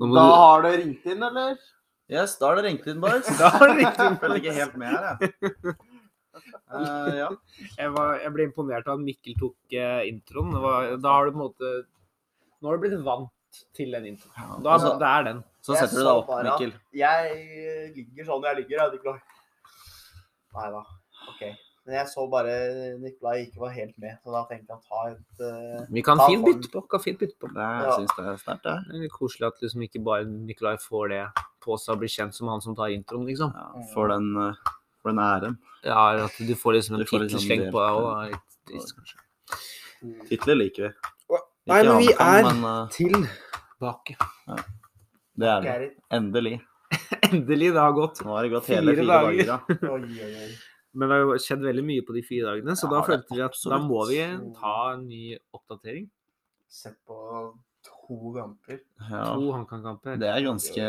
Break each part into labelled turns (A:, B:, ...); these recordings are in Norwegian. A: Nå må
B: Da
A: du...
B: har det ringt inn, eller?
C: Yes, da er det ringt inn, boys.
D: Da har det ringt inn,
C: Jeg følger ikke helt med her, jeg. Eh, ja.
D: Jeg, var, jeg ble imponert av at Mikkel tok eh, introen. Det var, da har du på en måte Nå har du blitt vant til den introen. Da,
C: altså-
D: det er den.
C: Så
B: Jeg
C: setter du deg
B: så
C: opp,
B: bare at
C: Mikkel.
B: Jeg ligger sånn jeg ligger, jeg er ikke klar. Nei da. OK. Men jeg så bare Nikolai ikke var helt med, så da tenkte jeg å ta et eh,
D: Vi kan
B: Da
D: fint
B: får den.
D: bytte på. Kan fint bytte på.
C: Det, jeg
B: Ja.
C: synes det er sterkt, det.
D: Det er litt koselig at liksom ikke bare Nikolai får det på seg og blir kjent som han som tar introen, liksom.
C: Ja, for, den, eh, for den æren.
D: Ja, at du får liksom en
C: Du får
D: tittel
C: liksom
D: slengt
C: det-
D: på deg òg. er litt trist, kanskje.
C: Titler liker vi. Ikke
D: Nei, men vi
C: Hamilton,
D: er-
C: men, eh,
D: Tilbake.
C: det er det.
B: Gerrit.
C: Endelig.
D: Endelig, det har gått.
C: Nå har det gått hele
D: Fire
C: fire
D: dager.
C: dager. da.
B: Oi, oi, oi.
D: Men det har jo skjedd veldig mye på de fire dagene, så
C: Ja,
D: da
C: det-
D: følte vi at da må vi
B: absolutt.
D: ta en ny oppdatering.
B: Sett på to kamper.
C: Ja,
D: To HamKam-kamper.
C: det er ganske,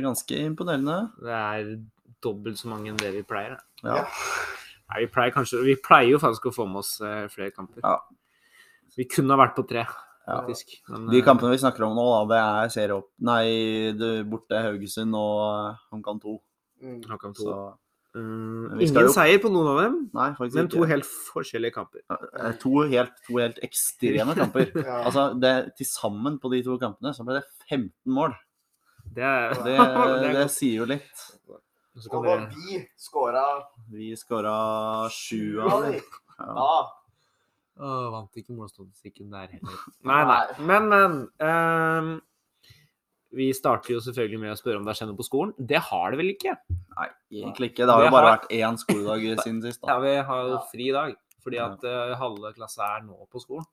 C: ganske imponerende.
D: Det er dobbelt så mange enn det vi pleier. da.
C: Ja.
D: Nei, vi pleier, kanskje, vi pleier jo faktisk å få med oss eh, flere kamper.
C: Ja.
D: Vi kunne ha vært på tre,
C: Ja.
D: faktisk. Men,
C: De
D: eh,
C: kampene vi snakker om nå, da, det er serieopp... Nei, det- borte Haugesund og eh, HamKam 2.
B: Mm.
D: HamKam to.
C: Så
D: Mm,
C: Men vi skal
D: ingen
C: jo-
D: seier på noen av dem,
C: nei, faktisk
D: men to
C: ikke.
D: helt forskjellige kamper.
C: Eh, To helt, to helt ekstreme kamper.
B: Ja.
C: Altså, det, Til sammen på de to kampene så ble det 15 mål.
D: Det er,
C: Det,
D: er
C: det
D: godt.
C: sier jo litt.
D: Så kan
B: og da
D: dere-
B: vi skåra
C: Vi skåra sju
B: sju
C: av
B: av de,
C: ja.
B: da
D: Åh, vant ikke målstatistikken der heller. Nei, nei. Men, men. ehm, vi starter jo selvfølgelig med å spørre om det har skjedd noe på skolen. Det har det vel ikke?
C: Nei, egentlig ikke. Det har
D: Det
C: jo bare
D: har-
C: vært én skoledag siden sist.
D: Ja,
C: da.
D: vi har jo
B: Ja.
D: fri i dag, fordi at eh, halve klasse er nå på skolen.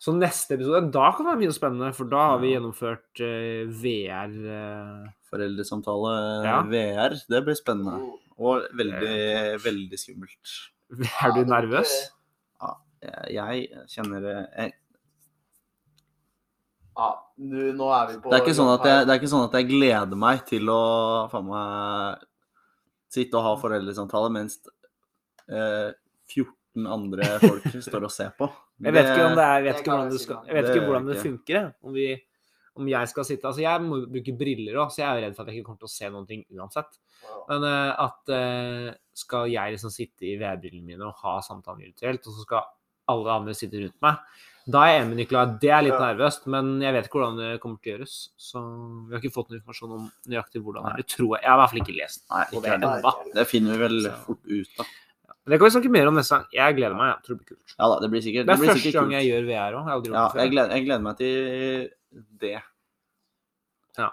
D: Så neste episode, da kan det være mye spennende, for da har vi
C: Ja.
D: gjennomført eh, VR eh,
C: Foreldresamtale
D: Ja.
C: VR, det blir spennende. Og veldig, veldig skummelt.
D: Er du nervøs?
C: Jeg- Jeg kjenner eh, jeg,
B: Ja, du, nå er vi på
C: det, er ikke sånn at jeg, det er ikke sånn at jeg gleder meg til å faen meg sitte og ha foreldresamtale mens eh, 14 andre folk står og ser på.
D: Jeg vet ikke, om det er, jeg vet
B: det
D: ikke
B: kan
D: hvordan
B: jeg
D: det,
B: si
D: skal,
B: meg.
D: jeg vet
C: Det
D: ikke
C: gjør
D: hvordan det
C: jeg
D: funker. jeg. Om, vi, om jeg skal sitte Altså, jeg må bruke briller òg, så jeg er jo redd for at jeg ikke kommer til å se noen ting uansett. Men eh, at eh, skal jeg liksom sitte i VR-brillene mine og ha samtalen virtuelt, og så skal alle andre sitte rundt meg, da er jeg enig med Nicolai. Det er litt
B: Ja.
D: nervøst, men jeg vet ikke hvordan det kommer til å gjøres. Så vi har ikke fått noe informasjon om nøyaktig hvordan det er. Det tror jeg. Jeg har i hvert fall ikke lest
C: Nei,
D: på
C: ikke
D: det
C: heller.
D: ennå.
C: Det finner vi vel
D: Så-
C: fort ut av.
D: Men Det kan vi snakke mer om neste gang. Jeg gleder meg. Jeg tror det blir kult.
C: Ja da, det blir sikkert
D: Det er
C: blir
D: første
C: sikkert
D: gang
C: kult.
D: jeg gjør VR òg. Jeg har aldri gjort
C: Ja,
D: det før.
C: jeg gleder, jeg gleder meg til det.
B: Ja.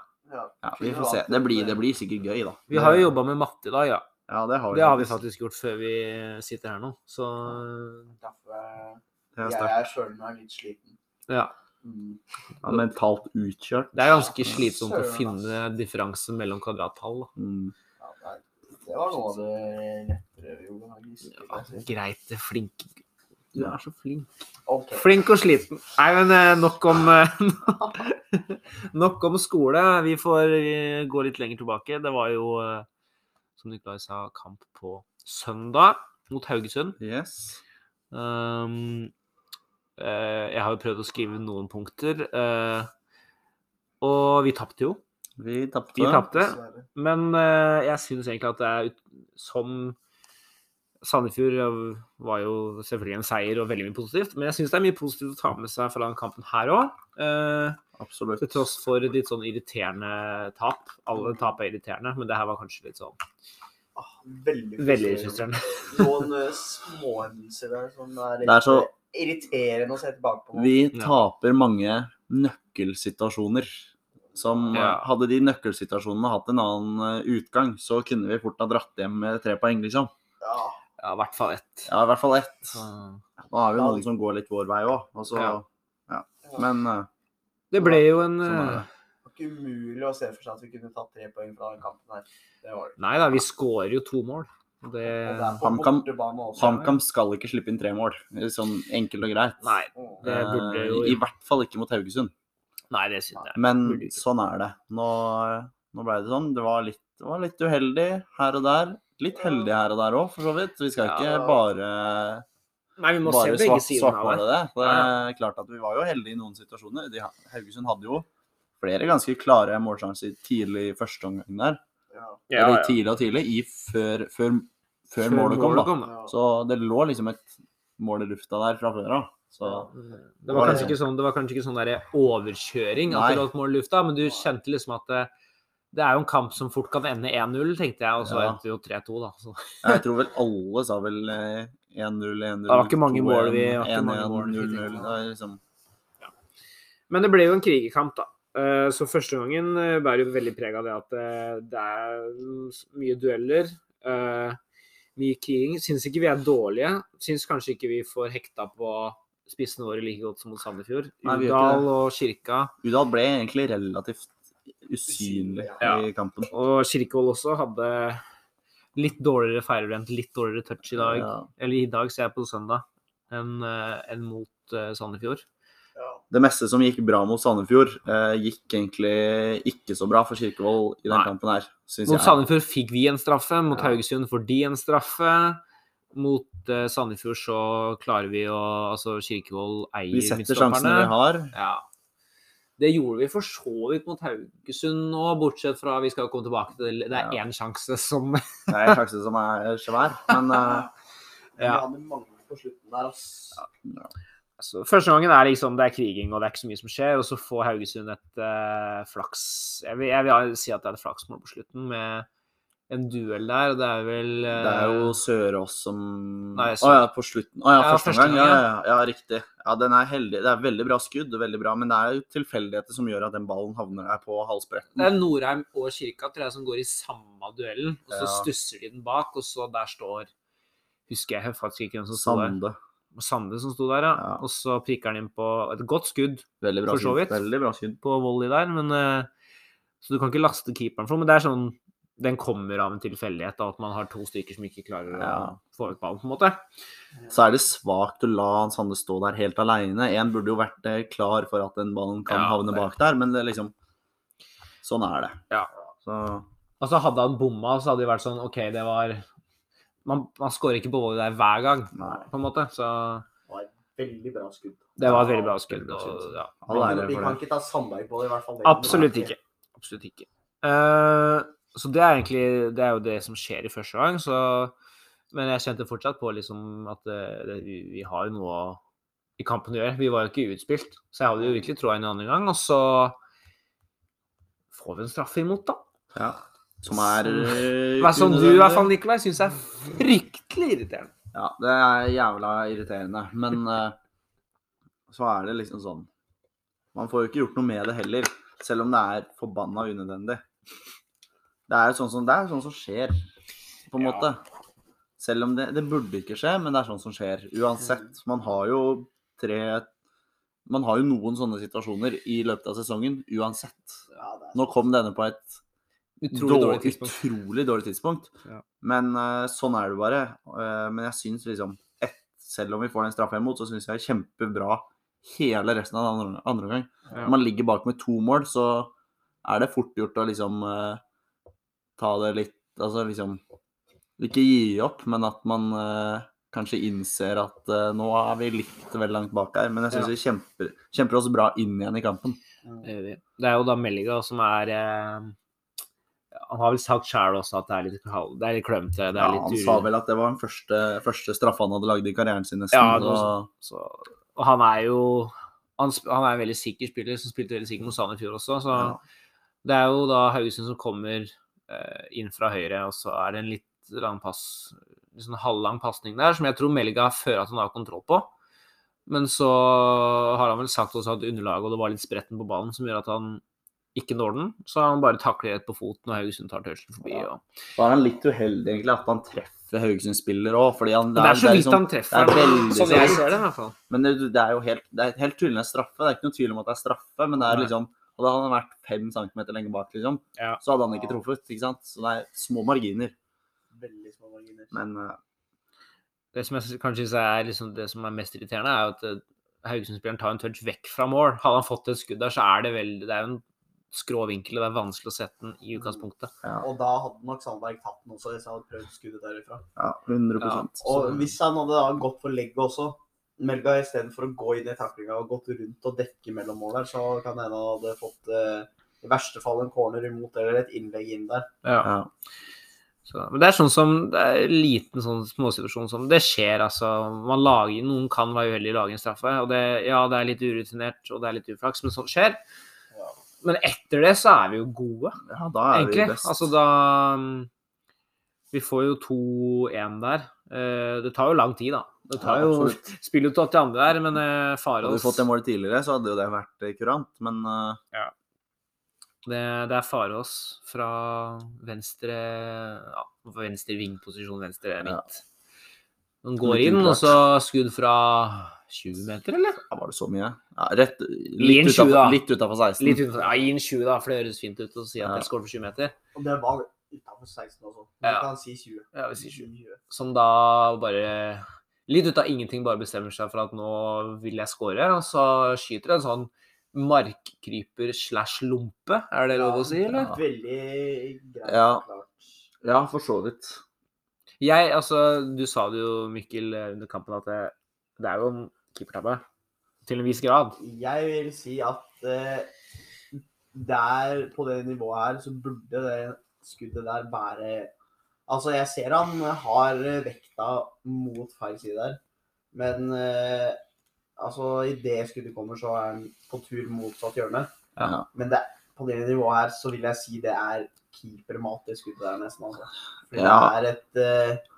C: Ja, vi får se. Det blir, det blir sikkert gøy, da.
D: Vi har jo jobba med matte i dag, ja.
C: Ja, det har vi,
D: Det har vi faktisk gjort før vi sitter her nå. Så
B: Derfor
C: Det er
B: jeg
C: sterkt.
B: er sjøl meg litt sliten.
D: ja.
B: Mm.
C: Ja, mentalt utkjørt.
D: Det er ganske slitsomt å
B: Søren, ass.
D: finne differansen mellom kvadrattall. da.
C: Mm.
B: Ja, nei, det var noe av det lettere vi gjorde. faktisk.
D: Altså, Greit, det er flink. Du er så flink.
B: Ok.
D: Flink og sliten. Nei, men eh, nok om eh, Nok om skole. Vi får eh, gå litt lenger tilbake. Det var jo, eh, som Nikolai sa, kamp på søndag mot Haugesund.
C: Yes.
D: Um, eh, jeg har jo prøvd å skrive noen punkter, eh, og vi tapte jo.
C: Vi tapte.
D: Vi tapte.
B: Dessverre.
D: Men eh, jeg syns egentlig at det er ut, som Sandefjord eh, var jo selvfølgelig en seier og veldig mye positivt, men jeg syns det er mye positivt å ta med seg fra den kampen her òg.
C: Absolutt.
D: til tross for et litt sånn irriterende tap. Alle tap er irriterende, men det her var kanskje litt sånn
B: Ah, veldig
D: veldig
B: frustrerende.
D: frustrerende.
B: Noen eh, småhendelser der som er,
C: Det er så-
B: irriterende å se tilbake på. nå.
C: Vi
D: Ja.
C: taper mange nøkkelsituasjoner. Som
D: Ja.
C: eh, Hadde de nøkkelsituasjonene hatt en annen eh, utgang, så kunne vi fort ha dratt hjem med tre poeng, liksom.
B: Ja,
D: Ja, i hvert fall ett.
C: Ja, i hvert fall ett.
D: Så-
C: Nå har vi jo noen som går litt vår vei òg, og så
D: Ja.
B: ja.
C: Men eh,
D: Det ble jo en
C: Sånn er
D: eh,
C: det.
B: Det var ikke umulig å se for seg at vi kunne tatt tre poeng fra den kampen her. Det var det.
D: Nei da, vi scorer jo to mål. Det
C: Eh,
B: Og det er på
C: HamKam-
B: bortebane
D: eh,
B: også.
C: HamKam skal ikke slippe inn tre mål, sånn enkelt og greit.
D: Nei,
B: Mm.
D: det burde
C: Eh,
D: jo-
C: I hvert fall ikke mot Haugesund.
D: nei det syns jeg.
C: Men
D: burde ikke.
C: sånn er det. Nå, nå ble det sånn. Det var litt, det var litt uheldig her og der. Litt heldig her og der òg, for så vidt. Vi skal ikke
B: Ja.
C: bare,
D: Nei, vi må se
C: bare
D: begge
C: svart,
D: sidene av det.
C: svartmale det. Det
D: Ja,
C: er klart at vi var jo heldige i noen situasjoner. De, Haugesund hadde jo flere ganske klare målsjanser tidlig i første omgang der.
B: Ja.
D: Ja,
C: Eller
D: ja.
C: tidlig og tidlig, i før, før, før, målet kom, da.
D: da.
B: Ja.
C: Så det lå liksom et mål i lufta der fra før av. Så
D: Det var kanskje ikke sånn, det var kanskje ikke sånn der overkjøring at
C: Nei.
D: det lå et mål i lufta, men du kjente liksom at det, det er jo en kamp som fort kan ende 1-0, tenkte jeg, og så
C: Ja.
D: endte det jo 3-2, da. Så.
C: jeg tror vel alle sa vel eh, 1-0, 1-0
D: var ikke mange mål vi- det var ikke mange mål vi
C: 1-1, 0-0
D: fikk.
C: Det var liksom
D: Men det ble jo en krigerkamp, da. Eh, Så første gangen eh, bærer jo veldig preg av det at eh, det er mm, s- mye dueller. eh, Mye kriging. Syns ikke vi er dårlige. Syns kanskje ikke vi får hekta på spissene våre like godt som mot Sandefjord.
C: Nei, vi gjør ikke
D: Udal og Kirka.
C: Udal ble egentlig relativt usynlig
D: Ja.
C: i kampen.
D: Og Kirkevold også hadde litt dårligere firebrent, litt dårligere touch i dag.
C: Ja.
D: Eller i dag, ser jeg på søndag, enn eh, enn mot eh, Sandefjord.
B: Ja.
C: Det meste som gikk bra mot Sandefjord, eh, gikk egentlig ikke så bra for Kirkevold i den
D: Nei.
C: kampen her, syns
D: Mot
C: jeg.
D: Sandefjord fikk vi en straffe, mot
C: Ja.
D: Haugesund får de en straffe. Mot eh, Sandefjord så klarer vi å Altså, Kirkevold eier
C: Vi setter sjansene vi
D: midtstopperne.
C: har.
D: Ja. Det gjorde vi for så vidt mot Haugesund nå, bortsett fra Vi skal jo komme tilbake til det er
C: Ja.
D: én sjanse som
C: Det er en sjanse som er svær, men eh,
B: Vi hadde mange på slutten der, ass.
D: altså, Første gangen er liksom, det er kriging, og det er ikke så mye som skjer. Og så får Haugesund et eh, flaks jeg vil, jeg vil si at det er et flaksmål på slutten, med en duell der, og det er vel eh,
C: det er jo Sørås som Å
D: Nei, Sø-
C: ja, på slutten. Å ja,
D: Ja,
C: første
D: første
C: gang. Ja,
D: gang, ja.
C: ja, ja, riktig. Ja, den er heldig. Det er veldig bra skudd, veldig bra, men det er jo tilfeldigheter som gjør at den ballen havner der på
D: Det
C: halsbretten.
D: er Norheim og Kirka tror jeg, som går i samme duellen, og så
C: Ja.
D: stusser de den bak, og så der står Husker jeg faktisk ikke hvem som sto der.
C: Sande.
D: Sande som sto der, ja.
C: Ja.
D: Og så prikker han inn på et godt skudd
C: Veldig bra
D: For så
C: skudd.
D: vidt.
C: Veldig bra skudd.
D: på volley der, men eh, Så du kan ikke laste keeperen for det, men det er sånn Den kommer av en tilfeldighet, da, at man har to stykker som ikke klarer
C: Ja.
D: å få ut ballen, på en måte.
C: Så er det svakt å la han Sande stå der helt aleine. Én burde jo vært eh, klar for at den ballen kan
D: Ja,
C: havne
D: det-
C: bak der, men det er liksom Sånn er det.
D: Ja.
C: Så
D: Altså Hadde han bomma, så hadde det vært sånn OK, det var Man, man skårer ikke på volley der hver gang,
C: nei.
D: på en måte. Så
B: Det var et veldig bra skudd.
D: det var et veldig bra skudd.
B: Veldig bra
D: og-
B: skudd.
D: Ja.
C: All ære
B: Vi
C: for
B: kan
C: det.
B: ikke ta Sandberg på det, i hvert fall.
D: Absolutt ikke. Absolutt ikke. Eh, så det er egentlig det er jo det som skjer i første gang, så Men jeg kjente fortsatt på liksom at eh, det, vi, vi har jo noe i kampen å gjøre. Vi var jo ikke utspilt, så jeg hadde jo virkelig troa inn i andre gang. Og så får vi en straffe imot, da.
C: Ja. Som er eh,
D: Hva som du i hvert
C: unødvendig.
D: fall, Nikolai, syns er fryktelig irriterende.
C: Ja, det er jævla irriterende. Men eh, så er det liksom sånn Man får jo ikke gjort noe med det heller, selv om det er forbanna unødvendig. Det er jo sånn som, det er jo sånn som skjer, på en
D: Ja.
C: måte. Selv om det, det burde ikke skje, men det er sånn som skjer uansett. Man har jo tre Man har jo noen sånne situasjoner i løpet av sesongen uansett.
B: Ja, det er
C: Nå kom denne på et
D: Utrolig dårlig
C: dår-
D: tidspunkt.
C: Utrolig dårlig tidspunkt.
D: Ja.
C: Men eh, sånn er det bare. Eh, men jeg syns liksom et, Selv om vi får den straffa imot, så syns jeg kjempebra hele resten av den andre, andre gang.
D: Ja.
C: Når man ligger bak med to mål, så er det fort gjort å liksom eh, ta det litt Altså liksom Ikke gi opp, men at man eh, kanskje innser at eh, nå er vi litt vel langt bak her. Men jeg syns vi kjemper, kjemper oss bra inn igjen i kampen.
B: det.
D: Enig. Det er jo da Melliga som er eh, Han har vel sagt sjæl også at det er litt, hal- det er litt klønete. Det
C: Ja,
D: er litt
C: han
D: ur-
C: sa vel at det var den første, første straffa han hadde lagd i karrieren sin, nesten.
D: Ja, det var sånn.
C: så,
D: Så, og han er jo han, sp- han er en veldig sikker spiller, som spilte veldig sikker mot Sand i fjor også. Så
C: Ja.
D: det er jo da Haugesund som kommer eh, inn fra høyre, og så er det en litt lang pass, litt sånn halvlang pasning der, som jeg tror Melga føler at han har kontroll på. Men så har han vel sagt også at underlaget og det var litt spretten på ballen som gjør at han ikke når den, så han bare takler rett på foten, og Haugesund tar touchen forbi.
B: Ja.
D: Og...
C: så er han litt uheldig, egentlig, at han treffer Haugesund-spiller òg, fordi han
D: Men det er så vidt
C: liksom-
D: han
C: det
D: treffer,
C: er veldig
D: sånn
C: så
D: jeg
C: vidt.
D: ser det i hvert fall.
C: Men det, det er jo helt, det er helt tydelig en straffe. Det er ikke noe tvil om at det er straffe, men det er
D: Nei.
C: liksom Hadde han vært fem centimeter lenger bak, liksom,
D: Ja.
C: så hadde han ikke
B: Ja.
C: truffet. ikke sant? Så det er små marginer.
B: Veldig små marginer.
C: Men eh,
D: det som jeg sy- kanskje synes er liksom det som er mest irriterende, er jo at eh, Haugesund-spilleren tar en touch vekk fra mål. Hadde han fått et skudd der, så er det vel Det er jo en skrå vinkel, og det er vanskelig å sette den i utgangspunktet.
C: ja,
B: Og da hadde nok Sandberg tatt den også, hvis jeg hadde prøvd skuddet derifra.
C: ja 100
D: Ja.
B: Og
D: Så-
B: hvis han hadde da gått for legget også, Melga istedenfor å gå inn i taklinga og gått rundt og dekke mellom mål der, så kan det hende han hadde fått eh, i verste fall en corner imot eller et innlegg inn der.
D: Ja.
C: Ja.
D: Så, men det er sånn som det er en liten sånn småsituasjon som Det skjer, altså. Man lager, noen kan være uheldige i å lage en straffe. Og det, ja, det er litt urutinert, og det er litt uflaks, men sånt skjer.
B: Ja.
D: Men etter det så er vi jo gode,
C: ja, da er
D: egentlig.
C: vi best.
D: Altså da mm, Vi får jo 2-1 der. Eh, Det tar jo lang tid, da. Det tar
C: Ja,
D: jo,
C: absolutt.
D: spiller jo til åtte andre der, men eh,
C: Hadde vi
D: Farås
C: fått det målet tidligere, så hadde jo det vært eh, kurant, men eh,
D: Det, det er Farås fra venstre ja, venstre vingposisjon, venstre
C: Ja.
D: midt. Han
C: Litt
D: går inn, og
C: uklart.
D: så skudd fra 20 meter, eller?
C: ja, var det så mye? Ja, rett,
D: en
C: litt,
D: tjue,
C: utenfor,
D: da.
C: litt utenfor 16.
D: Litt utenfor. Ja, gi en 20, da, for det høres fint ut å si at
C: Ja.
D: jeg skårer for 20 meter.
B: Og det var utenfor 16 også. Du
D: Ja.
B: kan si 20.
D: Ja, vi sier 20.
B: 20.
D: Som da bare Litt ut av ingenting bare bestemmer seg for at nå vil jeg score, og så skyter en sånn markkryper slash lompe, er det lov å si, eller?
C: Ja.
B: Veldig greit
C: Ja.
B: klart.
C: Ja, for så vidt.
D: Jeg, altså, du sa det jo, Mikkel, eh, under kampen, at det, det er jo en keepertabbe. Til en viss grad.
B: Jeg vil si at eh, der, på det nivået her, så burde det skuddet der være Altså, jeg ser han har vekta mot feil side der, men eh, altså, idet skuddet kommer, så er han på tur motsatt hjørne.
C: Ja.
B: Men det, på det nivået her, så vil jeg si det er keepermat, det skuddet der, nesten. Altså. Fordi
C: Ja.
B: det er et eh,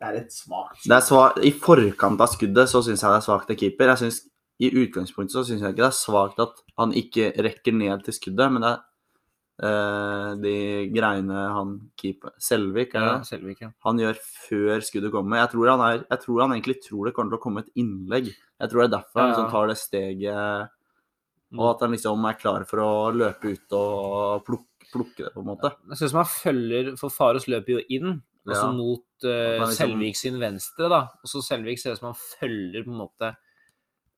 B: Det er et svakt
C: Det er sva- I forkant av skuddet så syns jeg det er svakt av keeper. Jeg synes, I utgangspunktet så syns jeg ikke det er svakt at han ikke rekker ned til skuddet, men det er eh, de greiene han keeper Selvik, er det?
D: Selvik, ja.
C: han gjør før skuddet kommer. Jeg tror han, er, jeg tror han egentlig tror det kommer til å komme et innlegg. Jeg tror det er derfor han
D: Ja.
C: liksom tar det steget, og at han liksom er klar for å løpe ut og plukke, plukke det, på en måte.
D: Jeg syns man følger For Faros løper jo inn, og så
C: Ja.
D: mot eh,
C: At han liksom-
D: Selvik sin venstre, da. Og så Selvik ser ut som han følger på en måte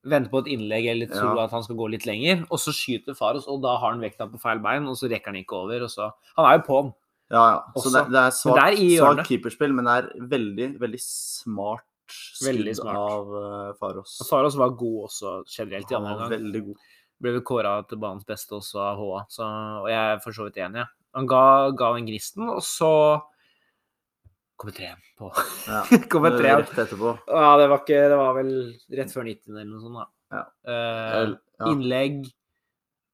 D: Venter på et innlegg eller tror
C: Ja.
D: at han skal gå litt lenger, og så skyter Faros, og da har han vekta på feil bein, og så rekker han ikke over, og så Han er jo på'n.
C: Ja, ja. Så
D: Også-
C: det, det er
D: Men
C: svakt
D: det er i hjørnet.
C: svak keeperspill, men det er veldig, veldig smart skudd
D: Veldig smart.
C: av eh, Farås.
D: Faros var god også generelt i
C: Han
D: andre
C: var
D: omgang.
C: veldig god.
D: ble vel kåra til banens beste også av HA, så, og jeg er for så vidt enig. jeg. Han ga, ga den gristen, og så kommer treen på.
C: Ja.
D: kommer treen.
C: Rett etterpå.
D: Ja, det var, ikke, det var vel rett før 90 eller noe sånt, da. Eh,
C: Eller- Ja.
D: Innlegg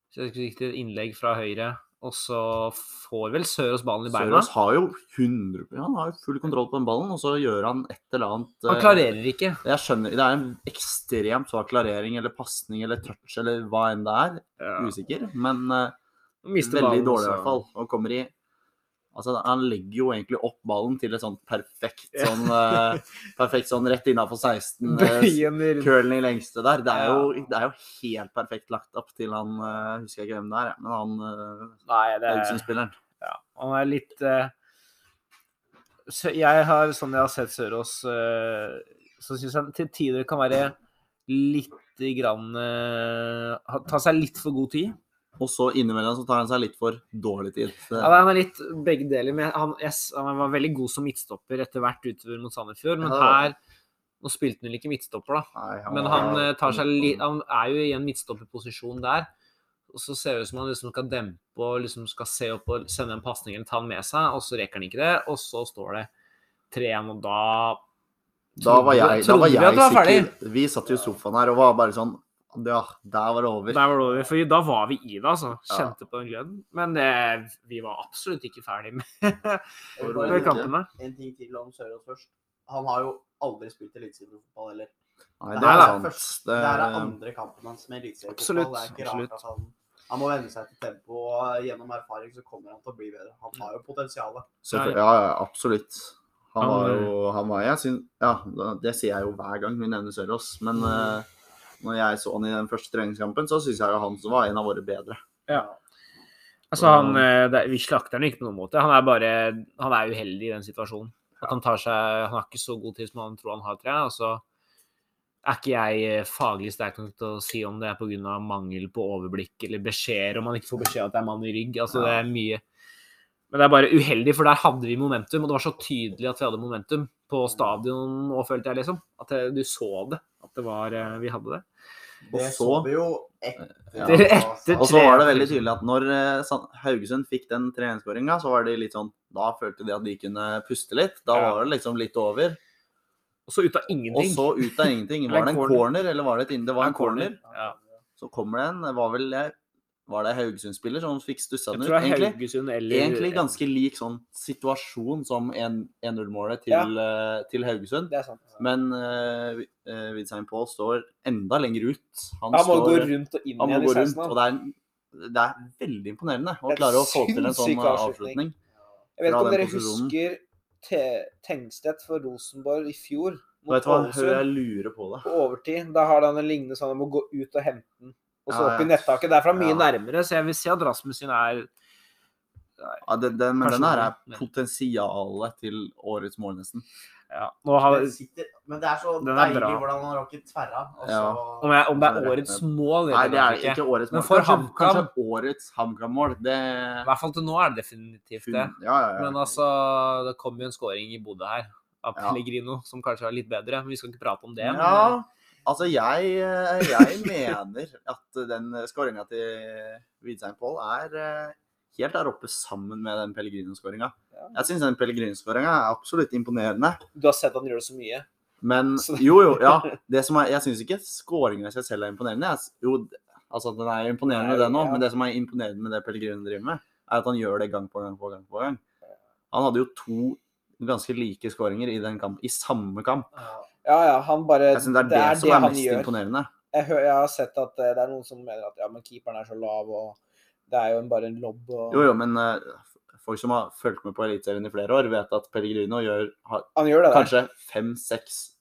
D: så jeg husker riktig, innlegg fra høyre, og så får vel Sørås ballen i beina.
C: Sørås har jo 100 Han har jo full kontroll på den ballen, og så gjør han et eller annet
D: Han
C: eh,
D: klarerer ikke.
C: Jeg skjønner, Det er en ekstremt svak klarering eller pasning eller touch eller hva enn det er. Usikker. Men eh,
D: Han mister
C: veldig
D: ballen,
C: dårlig i
D: så-
C: hvert fall. Og kommer i Altså, han legger jo egentlig opp ballen til et sånt perfekt
D: Ja.
C: sånn eh, Perfekt sånn rett innafor 16. eh,
D: Bøyen i
C: Curlen i lengste der. Det er,
D: Ja.
C: jo, det er jo helt perfekt lagt opp til han eh, Husker jeg ikke hvem det er, jeg, men han eh,
D: Nei, det er
C: Elgsen-spilleren.
D: Ja, han er litt eh, sø- Jeg har, sånn jeg har sett Sørås, eh, så syns jeg han til tider kan være lite grann eh, ha- Ta seg litt for god tid.
C: Og så innimellom så tar han seg litt for dårlig tid.
D: Ja,
C: Det,
D: han er litt begge deler, men han, jeg, s- han var veldig god som midtstopper etter hvert utover mot Sandefjord, men
C: Ja.
D: her Nå spilte han vel ikke midtstopper, da.
C: Nei,
D: Men
C: var-
D: han, eh, tar seg li han er jo i en midtstopperposisjon der. Og så ser det ut som han liksom skal dempe og liksom skal se opp og sende en pasning eller ta den med seg, og så rekker han ikke det. Og så står det 3-1, og da
C: Da var jeg, da
D: Trodde
C: var
D: vi
C: jeg
D: at det var
C: sikker. Vi satt jo i sofaen her og var bare sånn Ja, der var det over.
D: Der var det over. For da var vi i det, altså.
C: Ja.
D: Kjente på den gløden. Men eh, vi var absolutt ikke ferdig med,
B: Jeg vil bare
D: med
B: legge
D: kampene.
B: En ting til om Sørås først. Han har jo aldri spilt eliteseriefotball heller.
C: Nei,
B: Det
C: det
B: her
C: er
B: er
C: sant.
B: først-
C: Det,
B: Det her er andre kampen hans med eliteseriefotball.
D: Absolutt,
B: Det er ikke rart at han, han må venne seg til tempo, og gjennom erfaring så kommer han til å bli bedre. Han har jo potensialet.
C: Selvfø- ja, ja, absolutt. Han var
D: Han- eh,
C: jo han var, jeg syn- Ja, det sier jeg jo hver gang vi nevner Sørås. Men
D: Mm.
C: eh, når jeg så han i den første treningskampen, så syns jeg jo han som var en av våre bedre.
D: Altså, han, eh, det, vi slakter han ikke på noen måte. Han er bare han er uheldig i den situasjonen. At han, tar seg, han har ikke så god tid som han tror han har, tror jeg. Og så er ikke jeg eh, faglig sterk nok til å si om det er pga. mangel på overblikk eller beskjeder, om han ikke får beskjed om at det er mann i rygg. Altså, det er mye Men det er bare uheldig, for der hadde vi momentum, og det var så tydelig at vi hadde momentum på stadion og følte jeg, liksom. At det, du så det, at det var, eh, vi hadde det.
B: Det
C: Og
B: så
C: så-
B: vi jo etter.
C: Ja.
D: Etter-
C: Og så var det veldig tydelig at når eh, Sand- Haugesund fikk den 3-1-skåringa, så var de litt sånn Da følte de at de kunne puste litt. Da
D: Ja.
C: var det liksom litt over.
D: Og så ut av
C: Og
D: ingenting.
C: så ut av ingenting.
D: Eller en
C: Var det en
D: corner.
C: corner, eller var det et inn? Det var en corner.
D: Ja.
C: Så kommer det en det Var vel jeg Var det Haugesund-spiller som fikk stussa
D: Jeg
C: den ut,
D: tror det er
C: egentlig?
D: Haugesund eller
C: Egentlig ganske lik sånn situasjon som 1-0-målet til, eh, til Haugesund.
D: Det er sant.
C: Men uh, Widsheim Paul står enda lenger ut. Han,
D: Han må
C: står,
D: gå rundt og inn
C: han må
D: igjen i
C: gå
D: 16.
C: rundt, og det er, en- det er veldig imponerende
D: Det
C: å
D: er
C: klare å få til en
D: sinnssyk
C: sånn eh,
D: avslutning.
C: avslutning.
D: Jeg vet
C: fra
D: ikke om
C: den
D: dere
C: posisjonen.
D: husker Te- Tengstedt for Rosenborg i fjor
C: Og
D: mot
C: Vet du hva, hør,
D: Ålesund
C: jeg lurer på det.
D: på overtid. Da har han en lignende sånn om å gå ut og hente den, og så
C: Ja,
D: opp i
C: ja.
D: nettaket. Derfra mye
C: Ja.
D: nærmere, så jeg vil si at Rasmussen er
C: Ja, den, den, men
D: Kanskje
C: den her
D: noe,
C: er
D: men-
C: potensialet til årets mål, nesten.
D: ja, nå har,
B: Den sitter, men det er så
D: Den er
B: deilig
D: bra.
B: hvordan han rakk et tverra. og
C: Ja.
B: så-
D: om, jeg, om det er årets mål,
C: Nei, det er
D: kanskje
C: ikke årets
D: Men
C: mål.
D: for
C: Kanskje, kanskje
D: HamKam-
C: årets HamKam-mål. Det
D: I hvert fall til nå er det definitivt det.
C: Ja, ja, ja.
D: Men altså, det kom jo en scoring i Bodø her av
C: Ja.
D: Pellegrino, som kanskje er litt bedre. men Vi skal ikke prate om det. men-
C: Ja, altså jeg, jeg mener at den skåringa til Widsheim Pål er eh, helt der oppe sammen med den Pellegrino-skåringa.
D: Ja.
C: Jeg syns den Pellegrino-skåringa er absolutt imponerende.
D: Du har sett han gjør det så mye.
C: Men
D: Så-
C: jo, jo, ja. Det som er, jeg syns ikke skåringa i seg selv er imponerende. Jeg, s- jo, altså den er jo imponerende,
D: Nei,
C: den òg,
D: ja.
C: men det som er imponerende med det Pellegrino driver med, er at han gjør det gang på gang på gang på gang. Han hadde jo to ganske like skåringer i den kamp, i samme kamp.
B: Ja.
A: Ja, ja, han bare
C: Jeg synes Det er det, som er
A: han
C: mest
A: gjør.
C: imponerende.
A: Jeg, hø- jeg har sett at eh, det er noen som mener at ja, men keeperen er så lav, og det er jo en- bare en lobb og
C: Jo, jo, men eh, folk som har fulgt med på Eliteserien i flere år, vet at Pellegrino gjør har,
A: Han gjør det der.
C: kanskje fem-seks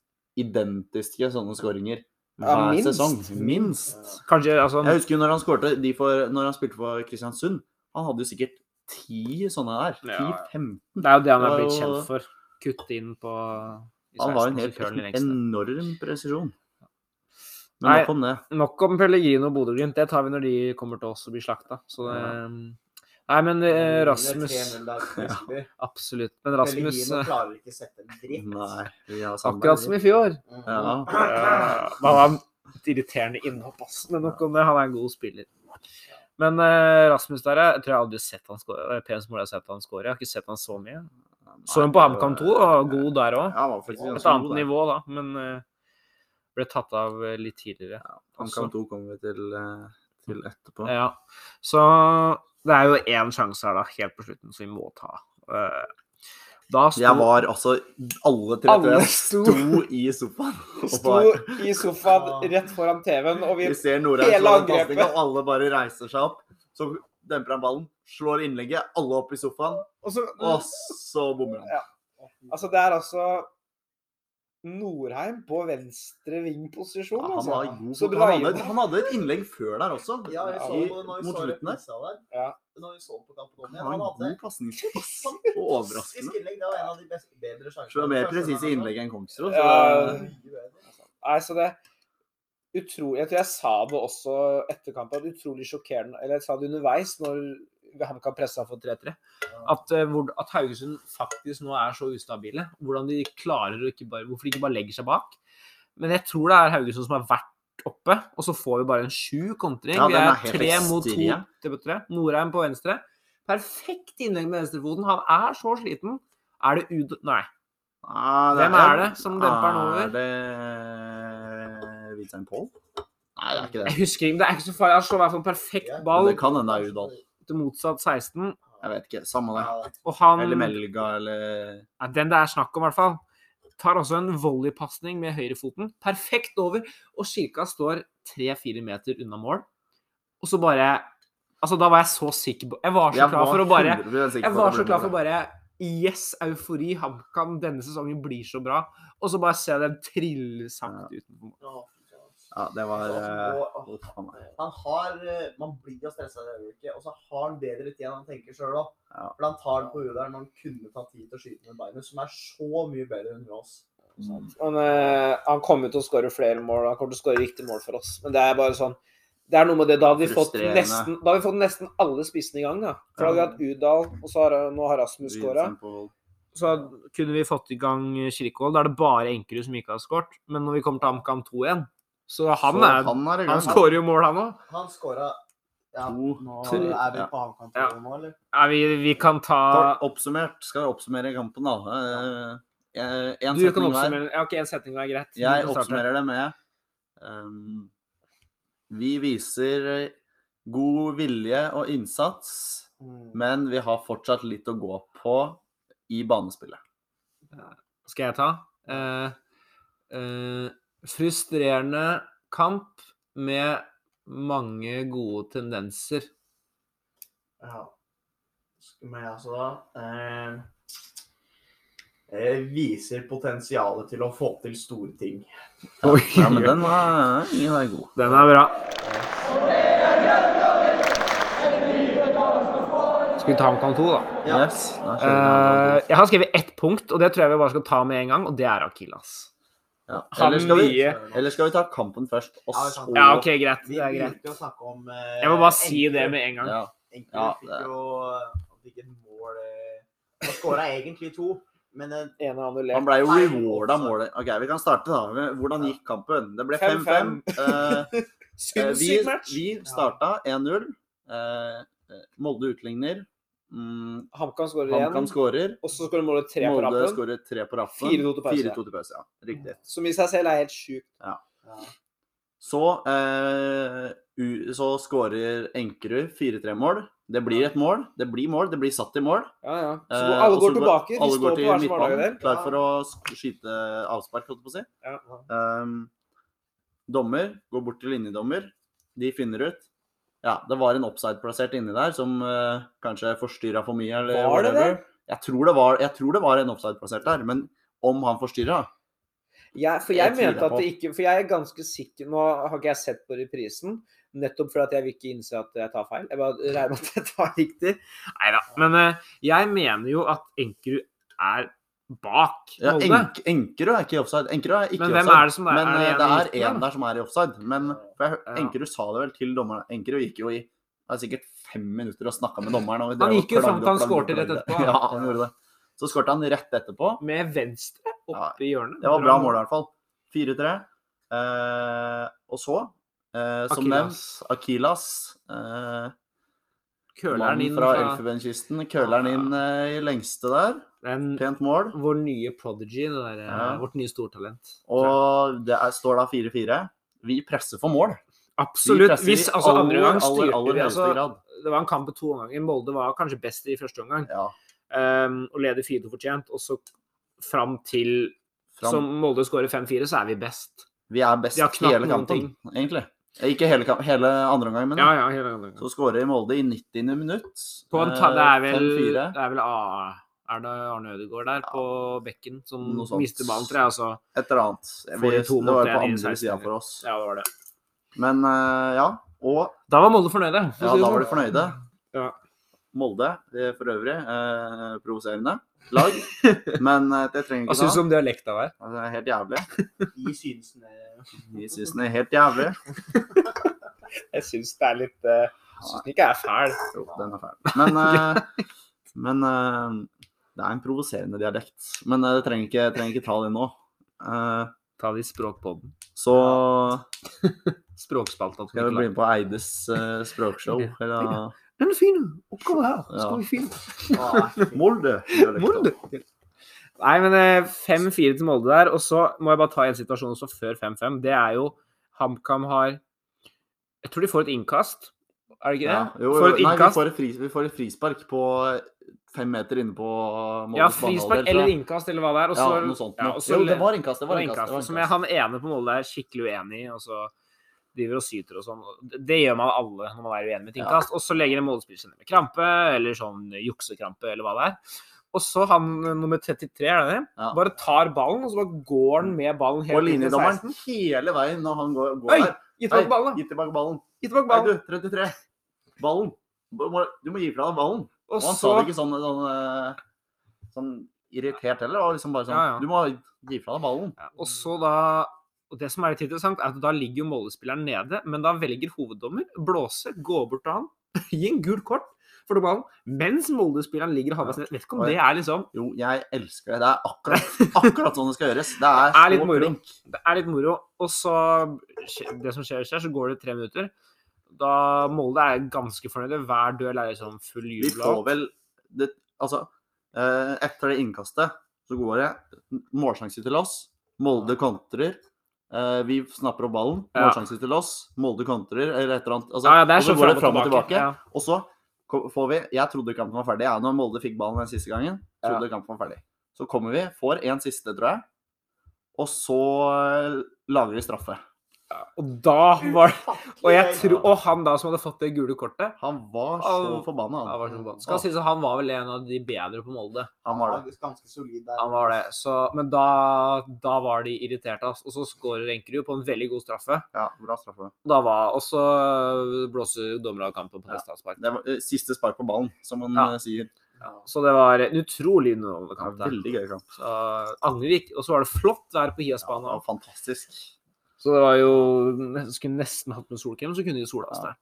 C: identiske sånne skåringer
A: Ja,
C: hver
A: minst.
C: sesong. Minst.
D: Kanskje, altså,
C: Jeg husker jo når han skårte de for, når han spilte for Kristiansund. Han hadde jo sikkert ti sånne der.
D: Ja, ja.
C: Ti-fem.
D: Det er jo det han er
C: Det var
D: blitt
C: jo-
D: kjent for. Kutte inn på i
C: Han var jo en
D: 16, så
C: helt liksom
D: kjører han i lengste.
C: enorm presisjon. Men
D: Nei.
C: nok om det.
D: Nok om Pellegrino og Bodø-Glimt. Det tar vi når de kommer til oss og blir slakta. Så det Nei, men eh, Rasmus
B: 3-0 der, Vestby.
D: Absolutt. Men Rasmus
B: Pellegrino
D: eh,
B: klarer ikke sette en dritt.
C: Nei, vi har samme-
D: Akkurat som i fjor.
B: Mhm.
C: Ja.
D: Ja, han var et irriterende innhopp, ass. Men nok om det. Han er en god spiller. Men eh, Rasmus der, jeg tror jeg aldri har sett han score. Pens mål jeg har sett han score. Jeg har ikke sett han så mye. Så han på HamKam 2, og god der
C: Ja,
D: òg.
C: han var faktisk ganske
D: Et annet
C: god der.
D: nivå, da. Men eh, ble tatt av eh, litt tidligere.
C: HamKam 2 kommer vi til, eh, til etterpå.
D: Ja. Så det er jo én sjanse her, da, helt på slutten, som vi må ta. Eh, Da sto
C: Jeg var altså Alle tre
A: Alle
C: tror jeg
A: sto-
C: sto i sofaen. Og
A: Sto
C: bare,
A: i sofaen rett foran TV-en, og vi
C: vi ser Norheim
A: hele
C: slå en
A: angrepet.
C: pasning, og alle bare reiser seg opp. Så demper han ballen, slår innlegget, alle opp i sofaen,
A: og så,
C: og så bommer han.
A: Altså, det er altså Norheim på venstre ving-posisjon,
C: Ja, han,
A: altså.
C: var god,
A: Så
C: han,
A: bra
C: hadde, han hadde et innlegg før der også.
B: Ja, vi så
C: I-
B: det når vi
C: mot
B: så
C: slutten der.
B: reprisa der.
A: Ja.
B: Når vi så på kampen om
C: Han
B: igjen.
C: var
B: Han
C: en
B: hadde
C: god pasning. Og
B: fantastisk
C: overraskende.
B: innlegg. Det var en av de beste, bedre sjansene.
C: Så det var mer presise innlegg enn Kongsrud.
A: Ja.
C: så det-
A: Nei, så det utrolig, Jeg tror jeg sa det også etter kampen, at utrolig sjokkerende Eller jeg sa det underveis, når HamKam pressa for 3-3.
D: at, eh, hvor, at Haugesund faktisk nå er så ustabile. Hvordan de klarer å ikke bare Hvorfor de ikke bare legger seg bak. Men jeg tror det er Haugesund som har vært oppe, og så får vi bare en sju kontring.
C: Ja,
D: vi
C: den er
D: er,
C: helt
D: tre mot to.
C: ekstrem.
D: tre mot tre. Norheim på venstre. Perfekt innlegg med venstrefoten. Han er så sliten. Er det Ud... Nei.
C: Ah,
D: Hvem er det som demper den over?
C: Er det Hvitein Pål? Nei, det er ikke det.
D: Jeg husker ikke, Det er ikke så farlig. Han slår i hvert fall en perfekt ball
C: Men det kan hende det er Udal.
D: til motsatt 16.
C: Jeg vet ikke. Samme det.
D: Og han
C: Eller Melga, eller
D: Ja, Den det er snakk om, i hvert fall. Tar også en volleypasning med høyrefoten. Perfekt over. Og Kirka står tre-fire meter unna mål. Og så bare Altså, da var jeg så sikker på Jeg var så klar for å bare Jeg var så klar for å bare Yes, eufori. HamKam denne sesongen blir så bra. Og så bare ser jeg den trille sakte utenfor mål.
C: Ja, det var eh,
B: Og-
C: å, faen meg.
B: Han har eh, Man blir jo stressa i det øyeblikket, og så har han bedre tid enn han tenker sjøl òg.
C: Ja.
B: For han tar det på huet der når han kunne tatt tid til å skyte med beinet, som er så mye bedre enn Ross.
C: Mm.
A: Han, eh, han kommer til å skåre flere mål, og han kommer til å skåre viktige mål for oss. Men det er bare sånn Det er noe med det. Da hadde vi fått
C: Frustrerende.
A: nesten, da hadde vi fått nesten alle spissene i gang. da. For da hadde vi hatt Udal, og så har, nå har Rasmus skåra.
C: Vincent Paul.
D: Så kunne vi fått i gang Kirkevold. Da er det bare Enkerud som ikke har skåret. Men når vi kommer til AMCAM 2-1, så han,
C: Så
D: er,
C: han er i
D: han
C: gang.
D: skårer jo mål, han òg.
B: Han skåra ja,
C: To.
B: Nå
D: To.
B: er vi
C: Ja.
B: på avkamp
D: Ja.
B: nå, eller?
D: Ja, vi, vi kan ta
C: Kort Oppsummert, skal vi oppsummere kampen, da? Eh, eh, En
D: Du kan
C: setning hver.
D: oppsummere. Ja, OK, en setning er greit. Du
C: Jeg
D: kan starte.
C: oppsummerer det med ehm, Vi viser god vilje og innsats,
B: Mm.
C: men vi har fortsatt litt å gå på i banespillet.
D: Skal jeg ta? Eh, eh, frustrerende kamp med mange gode tendenser.
B: Ja. Skal vi altså da eh, eh, Viser potensialet til å få til store ting.
C: Ja, men den er, den er god.
D: Den er bra. Skal vi ta omkamp to, da?
B: Ja.
C: Yes, da
D: Eh,
C: kjører vi.
D: jeg har skrevet ett punkt, og det tror jeg vi bare skal ta med en gang, og det er Akilas.
C: Ja.
D: han
C: Eller, skal vi,
D: mye-
C: eller skal vi ta kampen først, og
B: Ja, vi kan-
C: så
D: Ja, OK, greit.
B: Vi
D: Det er greit.
B: begynte å snakke om eh,
D: Jeg må bare si
B: Enkerud.
D: det med en gang.
C: Ja.
B: Enkerud
C: Ja,
B: fikk
C: det-
B: jo han fikk et mål eh, Han skåra egentlig to, men eh,
A: Ene
C: Han
A: annullert.
C: ble jo
B: Nei,
C: reward av
B: også.
C: målet. Ok, Vi kan starte, da. Hvordan gikk kampen? Det ble 5-5.
A: 5-5.
C: Eh, Eh, vi,
A: Sinnssyk match!
C: vi starta 1-0. Eh, Molde utligner. Mm,
A: HamKam skårer
C: HamKam
A: igjen.
C: skårer.
A: Og så skårer Molde tre på
C: Molde
A: rappen.
C: skårer tre på rappen.
A: 4-2 til pause.
C: 4-2 til pause. Ja, riktig.
A: Som i seg selv er helt sjukt.
B: ja.
C: Så, eh, u- så skårer Enkerud 4-3-mål. Det blir et mål. Det blir mål. Det blir satt i mål.
A: Ja, ja. Så
C: Eh,
A: alle
C: og
A: går
C: så
A: tilbake. De
C: alle går
A: står på
C: til
A: hver sin
C: midtbanen,
A: hverdag der.
C: Klar for å sk- skyte avspark, holdt jeg på å si.
A: Ja.
C: Ehm, dommer går bort til linjedommer. De finner ut. Ja, det var en offside-plassert inni der som eh, kanskje forstyrra for mye. Eller
A: Var det
C: whatever. Jeg tror det var, jeg tror det var en offside-plassert der, men om han forstyrra
A: Jeg, for
C: Jeg
A: jeg
C: tviler
A: mente at
C: på.
A: det ikke For jeg er ganske sikker Nå har ikke jeg sett på reprisen, nettopp fordi at jeg vil ikke innse at jeg tar feil. Jeg bare regner med at jeg tar riktig.
D: Nei da. Men eh, jeg mener jo at Enkerud er bak
C: ja,
D: Molde.
C: Enk- Enkerud er ikke i offside. Enkerud er ikke
D: men
C: i
D: hvem
C: offside.
D: er det som er,
C: Men eh,
D: er
C: det
D: en i
C: er
D: midten,
C: én
D: da?
C: der som er i offside. Men for jeg, hø-
D: Ja.
C: Enkerud sa det vel til dommeren. Enkerud gikk jo i det er sikkert fem minutter og snakka med dommeren. Og vi
D: Han
C: drev og
D: gikk jo fram til
C: klagde og
D: han
C: klagde og
D: skårte rett
C: klagde.
D: etterpå.
C: Ja, han gjorde det. Så skårte han rett etterpå.
D: Med venstre oppe i hjørnet.
C: Det var bra mål i hvert fall. 4-3. Eh, og så, eh, som
D: Akilas.
C: nevnt, Akilas. Eh,
D: Køleren
C: mannen
D: inn
C: fra
D: fra
C: Elfenbenskysten. Køleren inn eh, i lengste der.
D: Den-
C: Pent mål.
D: Vår nye prodigy, det der, eh,
C: Ja.
D: vårt nye stortalent.
C: Og det er, står da 4-4. Vi presser for mål. Vi
D: Absolutt.
C: presser
D: Hvis,
C: i
D: altså,
C: aller,
D: andre gang
C: aller,
D: styrte
C: aller
D: vi.
C: høyeste
D: Altså,
C: grad.
D: det var en kamp på to omganger. Molde var kanskje best i første omgang
C: Ja,
D: um, og leder 4-2 fortjent. Og så fram til
C: fram.
D: som Molde skårer 5-4, så er vi best.
C: Vi er best
D: De har knapt
C: hele
D: noen
C: kampen, egentlig. Eh, Ikke hele, kamp, hele andre omgang, men
D: Ja, ja, hele andre gangen.
C: så skårer Molde i 90. minutt. Eh,
D: På en ta, det er vel, det
C: 5-4.
D: er vel A, er det Arne Ødegaard der på bekken som
C: Noe sånt.
D: mister ballen, tror jeg. Altså.
C: Et eller annet. Jeg
D: Får de
C: vet-
D: to
C: det
D: mot
C: var
D: en
C: jo på
D: i
C: andre
D: 16.
C: sida for oss.
D: Ja, det var det.
C: Men eh, ja, og
D: Da var Molde fornøyde. for å
C: ja,
D: si det
C: da
D: sånn.
C: var de fornøyde.
D: Ja.
C: Molde eh, for øvrig, eh, provoserende lag. Men eh, det trenger vi
D: Hva
C: ikke
D: syns du
C: ta.
D: om dialekta vår?
C: Altså, Det er helt jævlig.
B: De synes det
C: Vi syns den er helt jævlig.
A: Jeg syns det er litt eh, Jeg syns den ikke er fæl.
C: Jo, den er fæl. Men, eh, men eh, det er en provoserende dialekt. Men eh, det trenger ikke, trenger ikke ta det nå. Eh,
D: Ta det i språkpodden.
C: så
D: Språkspalta. til
C: skal vi
D: Nicolai.
C: bli med på Eides eh, språkshow. Eller
D: Den er fin! Oppgave her.
C: Ja.
D: Skal vi finne
B: var
C: eh, Molde.
D: Molde. Nei, men eh, 5-4 til Molde der. Og så må jeg bare ta en situasjon også før 5-5. Det er jo HamKam har Jeg tror de får et innkast. Er det ikke
C: Ja,
D: det?
C: jo,
D: får et
C: jo. Nei, vi
D: innkast.
C: får et, fri, vi får et frispark på eh, fem meter inne på eh, Moldes
D: ja, frispark
C: banehalvdel, tror
D: eller
C: jeg.
D: innkast eller hva det er. Og så,
C: ja, noe sånt.
D: ja,
C: noe.
D: og så
C: jo,
D: le-
C: det var innkast. Det
D: Det var
C: var innkast.
D: innkast.
C: Det var
D: Som jeg, han ene på Molde er skikkelig uenig i, og så driver og syter og sånn. Det- Det gjør man alle når man er uenig med et
C: Ja.
D: innkast. Og så legger en Molde-spiller seg ned med krampe, eller sånn juksekrampe, eller hva det er. Og så han eh, nummer 33, er det det?
C: Ja.
D: Bare tar ballen, og så bare går han med ballen helt
C: Og
D: inn til
C: linjedommeren
D: 16.
C: hele veien når han går, går
D: Oi,
C: der.
D: Gi tilbake ballen, da!
C: gi tilbake ballen.
D: Gi tilbake
C: Nei, du,
D: ballen.
C: 33. Ballen. Du må- Du må gi fra deg ballen.
D: Og
C: Og han
D: så
C: sa det ikke sånn, sånn, eh, sånn irritert heller. Det var liksom bare sånn
D: Ja, ja.
C: Du må gi fra deg ballen.
D: ja, Og så da Og det som er litt interessant, er at da ligger jo målespilleren nede, men da velger hoveddommer blåse, gå bort til han, gi en gult kort for ballen, mens målespilleren ligger halvveis ned. Vet ikke om det er liksom
C: Jo, jeg elsker det. Det er akkurat, akkurat sånn det skal gjøres. Det er,
D: Det er litt
C: så
D: moro.
C: flink.
D: Det er litt moro. Og så skje- Det som skjer, skjer, så går det tre minutter. Da Molde er ganske fornøyde. Hver duell er liksom full
C: Vi
D: jubel. og
C: får
D: alt.
C: vel det, Altså, eh, etter det innkastet så går det målsjanse til oss. Molde kontrer. Eh, vi snapper opp ballen.
D: Ja.
C: Målsjanse til oss. Molde kontrer, eller et eller annet. Altså,
D: Ja, ja, det er
C: og så
D: sånn
C: går det fram og tilbake.
D: Ja.
C: Og så ko- får vi Jeg trodde kampen var ferdig, jeg, når Molde fikk ballen den siste gangen. trodde kampen var ferdig. Så kommer vi, får en siste, tror jeg. Og så eh, lager vi straffe.
D: Og da var det Og, jeg
B: Fucking
D: tror, og han da som hadde fått det gule kortet
C: Han var så
D: Au.
C: forbanna,
D: han
C: han.
D: var, sånn, skal sies at han var vel en av de bedre på Molde.
C: Han var det.
B: Ja, Ganske solid der.
D: Han var det. Så, men da, da var de irriterte. ass. Og så skårer Enkerud på en veldig god straffe.
C: Ja, bra straffe.
D: Og Da var, og så blåser dommerne av kampen på
C: Ja.
D: neste avspark.
C: Det var eh, siste spark på ballen, som man
D: Ja.
C: eh, sier.
D: Så det var en utrolig underholdende
C: Ja,
D: kamp. der.
C: veldig gøy kamp.
D: Så angrer ikke. Og så var det flott vær på
C: Ja, det
D: Hiasbanen.
C: var fantastisk.
D: Så det var jo Skulle nesten hatt med solkrem, så kunne de sola oss
C: Ja.
D: der.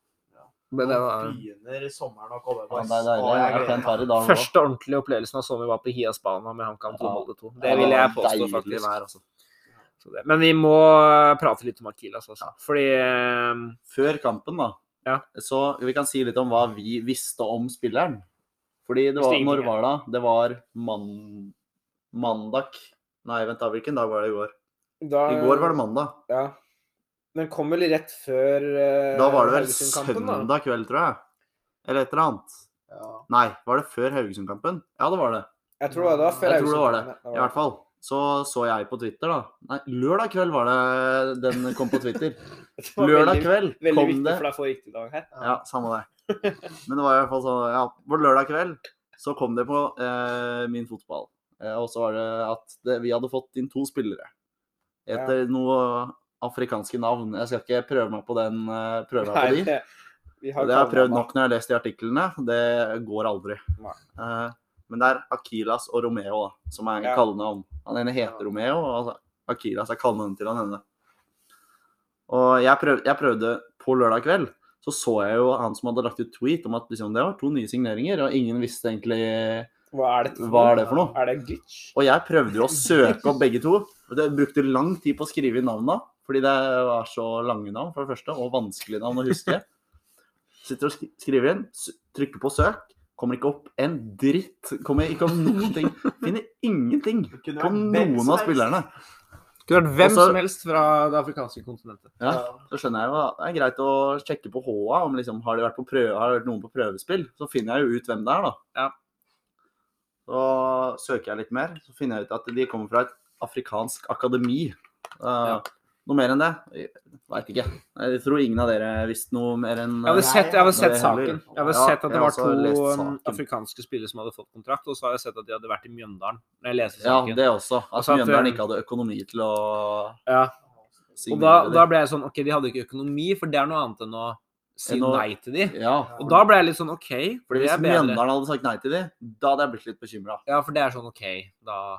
D: Men det var
B: Begynner sommeren å komme,
C: Ja,
B: boys.
C: det er deilig.
B: Å,
C: Jeg
B: jeg
C: har
B: gleder
C: pent hår i dag også.
D: første ordentlige opplevelsen av sommer var på Hiasbanen med HamKam 2
C: Ja.
D: Molde 2.
C: Ja,
D: Det vil jeg
C: det var
D: påstå
C: deilig.
D: faktisk er. Altså. Så det- Men vi må eh, prate litt om Akilas, altså. Fordi eh,
C: Før kampen, da,
D: Ja.
C: så vi kan si litt om hva vi visste om spilleren. Fordi det var,
D: Visste
C: når
D: ingenting,
C: var det? da? Det var man, mandag Nei, vent da, hvilken dag var det i går?
A: Da,
C: I går var det mandag.
A: Ja. Den kom vel rett før eh,
C: Da var det vel
A: Haugesund-kampen, da.
C: søndag kveld, tror jeg. Eller et eller annet.
B: meg. Ja.
C: Nei, var det før Haugesund-kampen? Ja, det var det.
A: Jeg tror det var før
C: Jeg tror det var det.
A: Haugesund-kampen, ja.
C: I hvert fall. Så så jeg på Twitter, da. Nei, lørdag kveld var det den kom på Twitter.
A: Det var
C: Lørdag
A: veldig-
C: kveld
A: Veldig
C: kom
A: viktig
C: det
A: for deg å få riktig dag her.
C: Ja, samme det. Men det var i hvert fall sånn Ja, på lørdag kveld så kom det på eh, min fotball. Eh, og så var det at det, vi hadde fått inn to spillere. Etter noe afrikanske navn. Jeg skal ikke prøve meg på den. Eh, prøve meg på de.
A: det, vi
C: Og Det har jeg prøvd
A: kallenavn.
C: nok når jeg har lest de artiklene. Det går aldri.
A: Nei.
C: Eh, men det er Akilas og Romeo da, som er
A: Ja.
C: kallenavn. Han ene heter
B: Ja.
C: Romeo, og Akilas er kallenavnet til han ene. Og jeg prøvde, jeg prøvde på lørdag kveld, så så jeg jo han som hadde lagt ut tweet om at liksom, det var to nye signeringer, og ingen visste egentlig
A: Hva er dette
C: hva er det for noe.
A: Er det glitch?
C: Og jeg prøvde jo å søke opp begge to. og det brukte lang tid på å skrive inn navna, fordi det var så lange navn, for det første, og vanskelige navn å huske. Sitter og sk- skriver inn, s- trykker på søk, kommer ikke opp en dritt. Kommer ikke opp noen ting. Finner ingenting
B: Det kunne
C: på
B: vært hvem
C: noen
B: som
C: av
B: helst.
C: spillerne.
D: Kunne vært hvem
C: Også-
D: som helst fra det afrikanske kontinentet.
C: Ja, Så skjønner jeg jo at det er greit å sjekke på HA om liksom, har det vært på prøve, har det vært noen på prøvespill. Så finner jeg jo ut hvem det er, da.
D: Ja.
C: Så søker jeg litt mer, så finner jeg ut at de kommer fra et afrikansk akademi. Eh, Noe mer enn det? Veit ikke. Jeg tror ingen av dere visste noe mer enn
D: Jeg hadde
C: eh,
D: sett, jeg hadde
C: det
D: sett
C: heller.
D: saken. Jeg hadde
C: Ja,
D: sett at det
C: jeg
D: var
C: også har lest
D: to um,
C: saken.
D: afrikanske spillere som hadde fått kontrakt, og så hadde jeg sett at de hadde vært i Mjøndalen. Når jeg leste
C: Ja,
D: saken.
C: det også. At
D: Altså at,
C: Mjøndalen
D: eh,
C: ikke hadde økonomi til å
D: Ja. Og da,
C: signere
D: da
C: det.
D: ble jeg sånn OK, de hadde ikke økonomi, for det er noe annet enn å si
C: Enn å-
D: nei til de.
C: Ja,
D: Og da ble jeg litt sånn OK, for
C: fordi
D: det
C: hvis
D: er bedre.
C: Mjøndalen hadde sagt nei til de, da hadde jeg blitt litt Eh, bekymra.
D: Ja, for det er sånn OK, da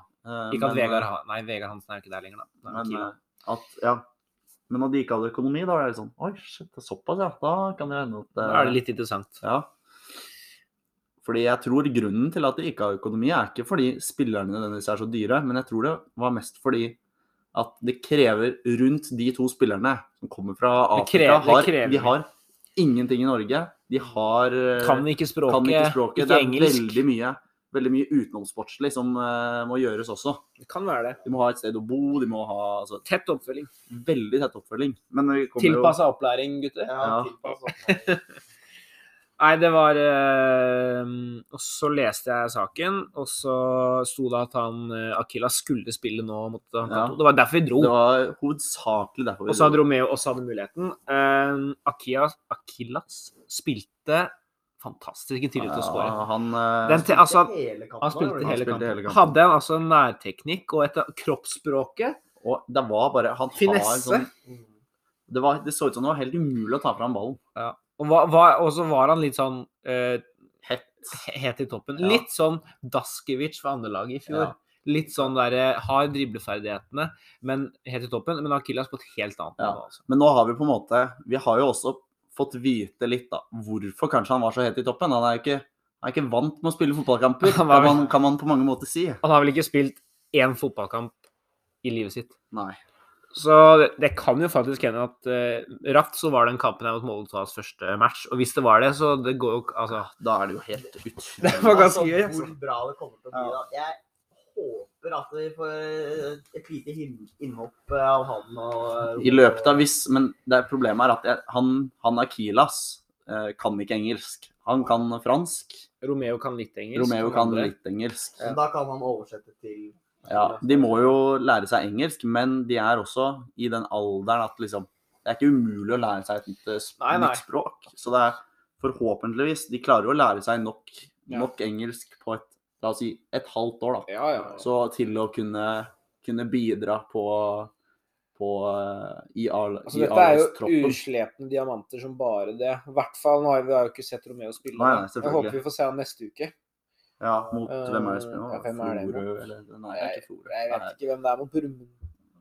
D: Ikke at Vegard har Nei, Vegard Hansen er jo ikke der lenger, da. Nei,
C: Men
D: Kila.
C: eh, at ja. Men når de ikke hadde økonomi, da var det sånn Oi, shit, det er såpass, ja. Da kan det hende at
D: Da
C: eh,
D: er det litt interessant.
C: Ja. Fordi jeg tror grunnen til at de ikke har økonomi, er ikke fordi spillerne nødvendigvis er så dyre, men jeg tror det var mest fordi at det krever rundt de to spillerne som kommer fra Afrika
D: krever- det
C: har,
D: krever
C: De
D: mye.
C: har ingenting i Norge. De har eh,
D: Kan ikke språket,
C: kan ikke språket. det er
D: engelsk.
C: veldig mye, veldig mye utenomsportslig som eh, må gjøres også.
D: Det kan være det.
C: De må ha et sted å bo, de må ha altså,
D: Tett oppfølging.
C: veldig tett oppfølging. Men vi kommer jo
D: Tilpassa opplæring, gutter.
B: Ja,
C: Ja.
B: altså. tilpasset.
D: Nei, det var eh, Og så leste jeg saken, og så sto det at han eh, Akila skulle spille nå mot han
C: Ja.
D: Kato. Det var derfor vi dro.
C: Det var hovedsakelig derfor
D: Og så hadde Romeo også hadde muligheten. Eh, Akia, Akilas spilte fantastisk i tillegg til å skåre.
C: Ja, han, eh,
D: Den til- altså,
B: Hele kampen,
D: han spilte
B: eller?
C: han
D: hele
C: spilte hele
D: kampen.
C: kampen.
D: Hadde en altså nærteknikk og etter kroppsspråket.
C: og det var bare han har
D: Finesse.
C: sånn,
B: Mm.
C: det, var, det så ut som det var helt umulig å ta fram ballen.
D: Og, hva- hva- og så var han litt sånn eh,
C: Hett.
D: he- het i toppen.
C: Ja.
D: Litt sånn Daskevic for andre laget i fjor.
C: Ja.
D: Litt sånn derre Har dribleferdighetene men helt i toppen, men Akillas på et helt annet
C: Ja.
D: nivå. Altså.
C: Men nå har vi på en måte Vi har jo også fått vite litt da, hvorfor kanskje han var så het i toppen. Han er jo ikke, han er ikke vant med å spille fotballkamper,
D: Han
C: kan
D: var vel-
C: man, kan man på mange måter si.
D: Han har vel ikke spilt én fotballkamp i livet sitt.
C: Nei.
D: Så det, det kan jo faktisk hende at uh, Ratt så var den kampen her mot Moldovas første match. Og hvis det var det, så det går jo ikke Altså,
C: Da er det jo helt utrolig.
A: Det var ganske gøy.
B: Altså,
A: Altså.
B: hvor bra det kommer til å bli. Da. Jeg håper at vi får eh, et lite hin- innhopp eh, av han og eh,
C: I løpet av hvis Men det er problemet er at jeg, han, han Akilas eh, kan ikke engelsk. Han kan fransk.
D: Romeo kan litt engelsk.
C: Romeo
D: men
C: kan
D: andre-
C: litt engelsk.
B: Men da kan han oversette til
C: Ja, De må jo lære seg engelsk, men de er også i den alderen at liksom Det er ikke umulig å lære seg et nytt, eh, sp-
D: Nei, nei.
C: nytt språk. Så det er forhåpentligvis De klarer jo å lære seg nok,
A: Ja.
C: nok engelsk på et La oss si et halvt år, da.
A: Ja, ja.
C: Så til å kunne, kunne bidra på, på eh, i al-
A: Altså,
C: i
A: dette er jo
C: A-troppen.
A: uslepne diamanter som bare det. I hvert fall, nå har vi, vi har jo ikke sett Romeo spille.
C: Nei,
A: da.
C: nei, selvfølgelig.
A: jeg håper vi får se han neste uke.
C: Ja, mot hvem er det spiller
A: Eh, ja, hvem er det
C: nå?
A: mot?
C: Florø, eller Nei, det er ikke Florø.
A: Jeg
C: Det
A: vet
C: er-
A: ikke hvem det er mot Brumunddal.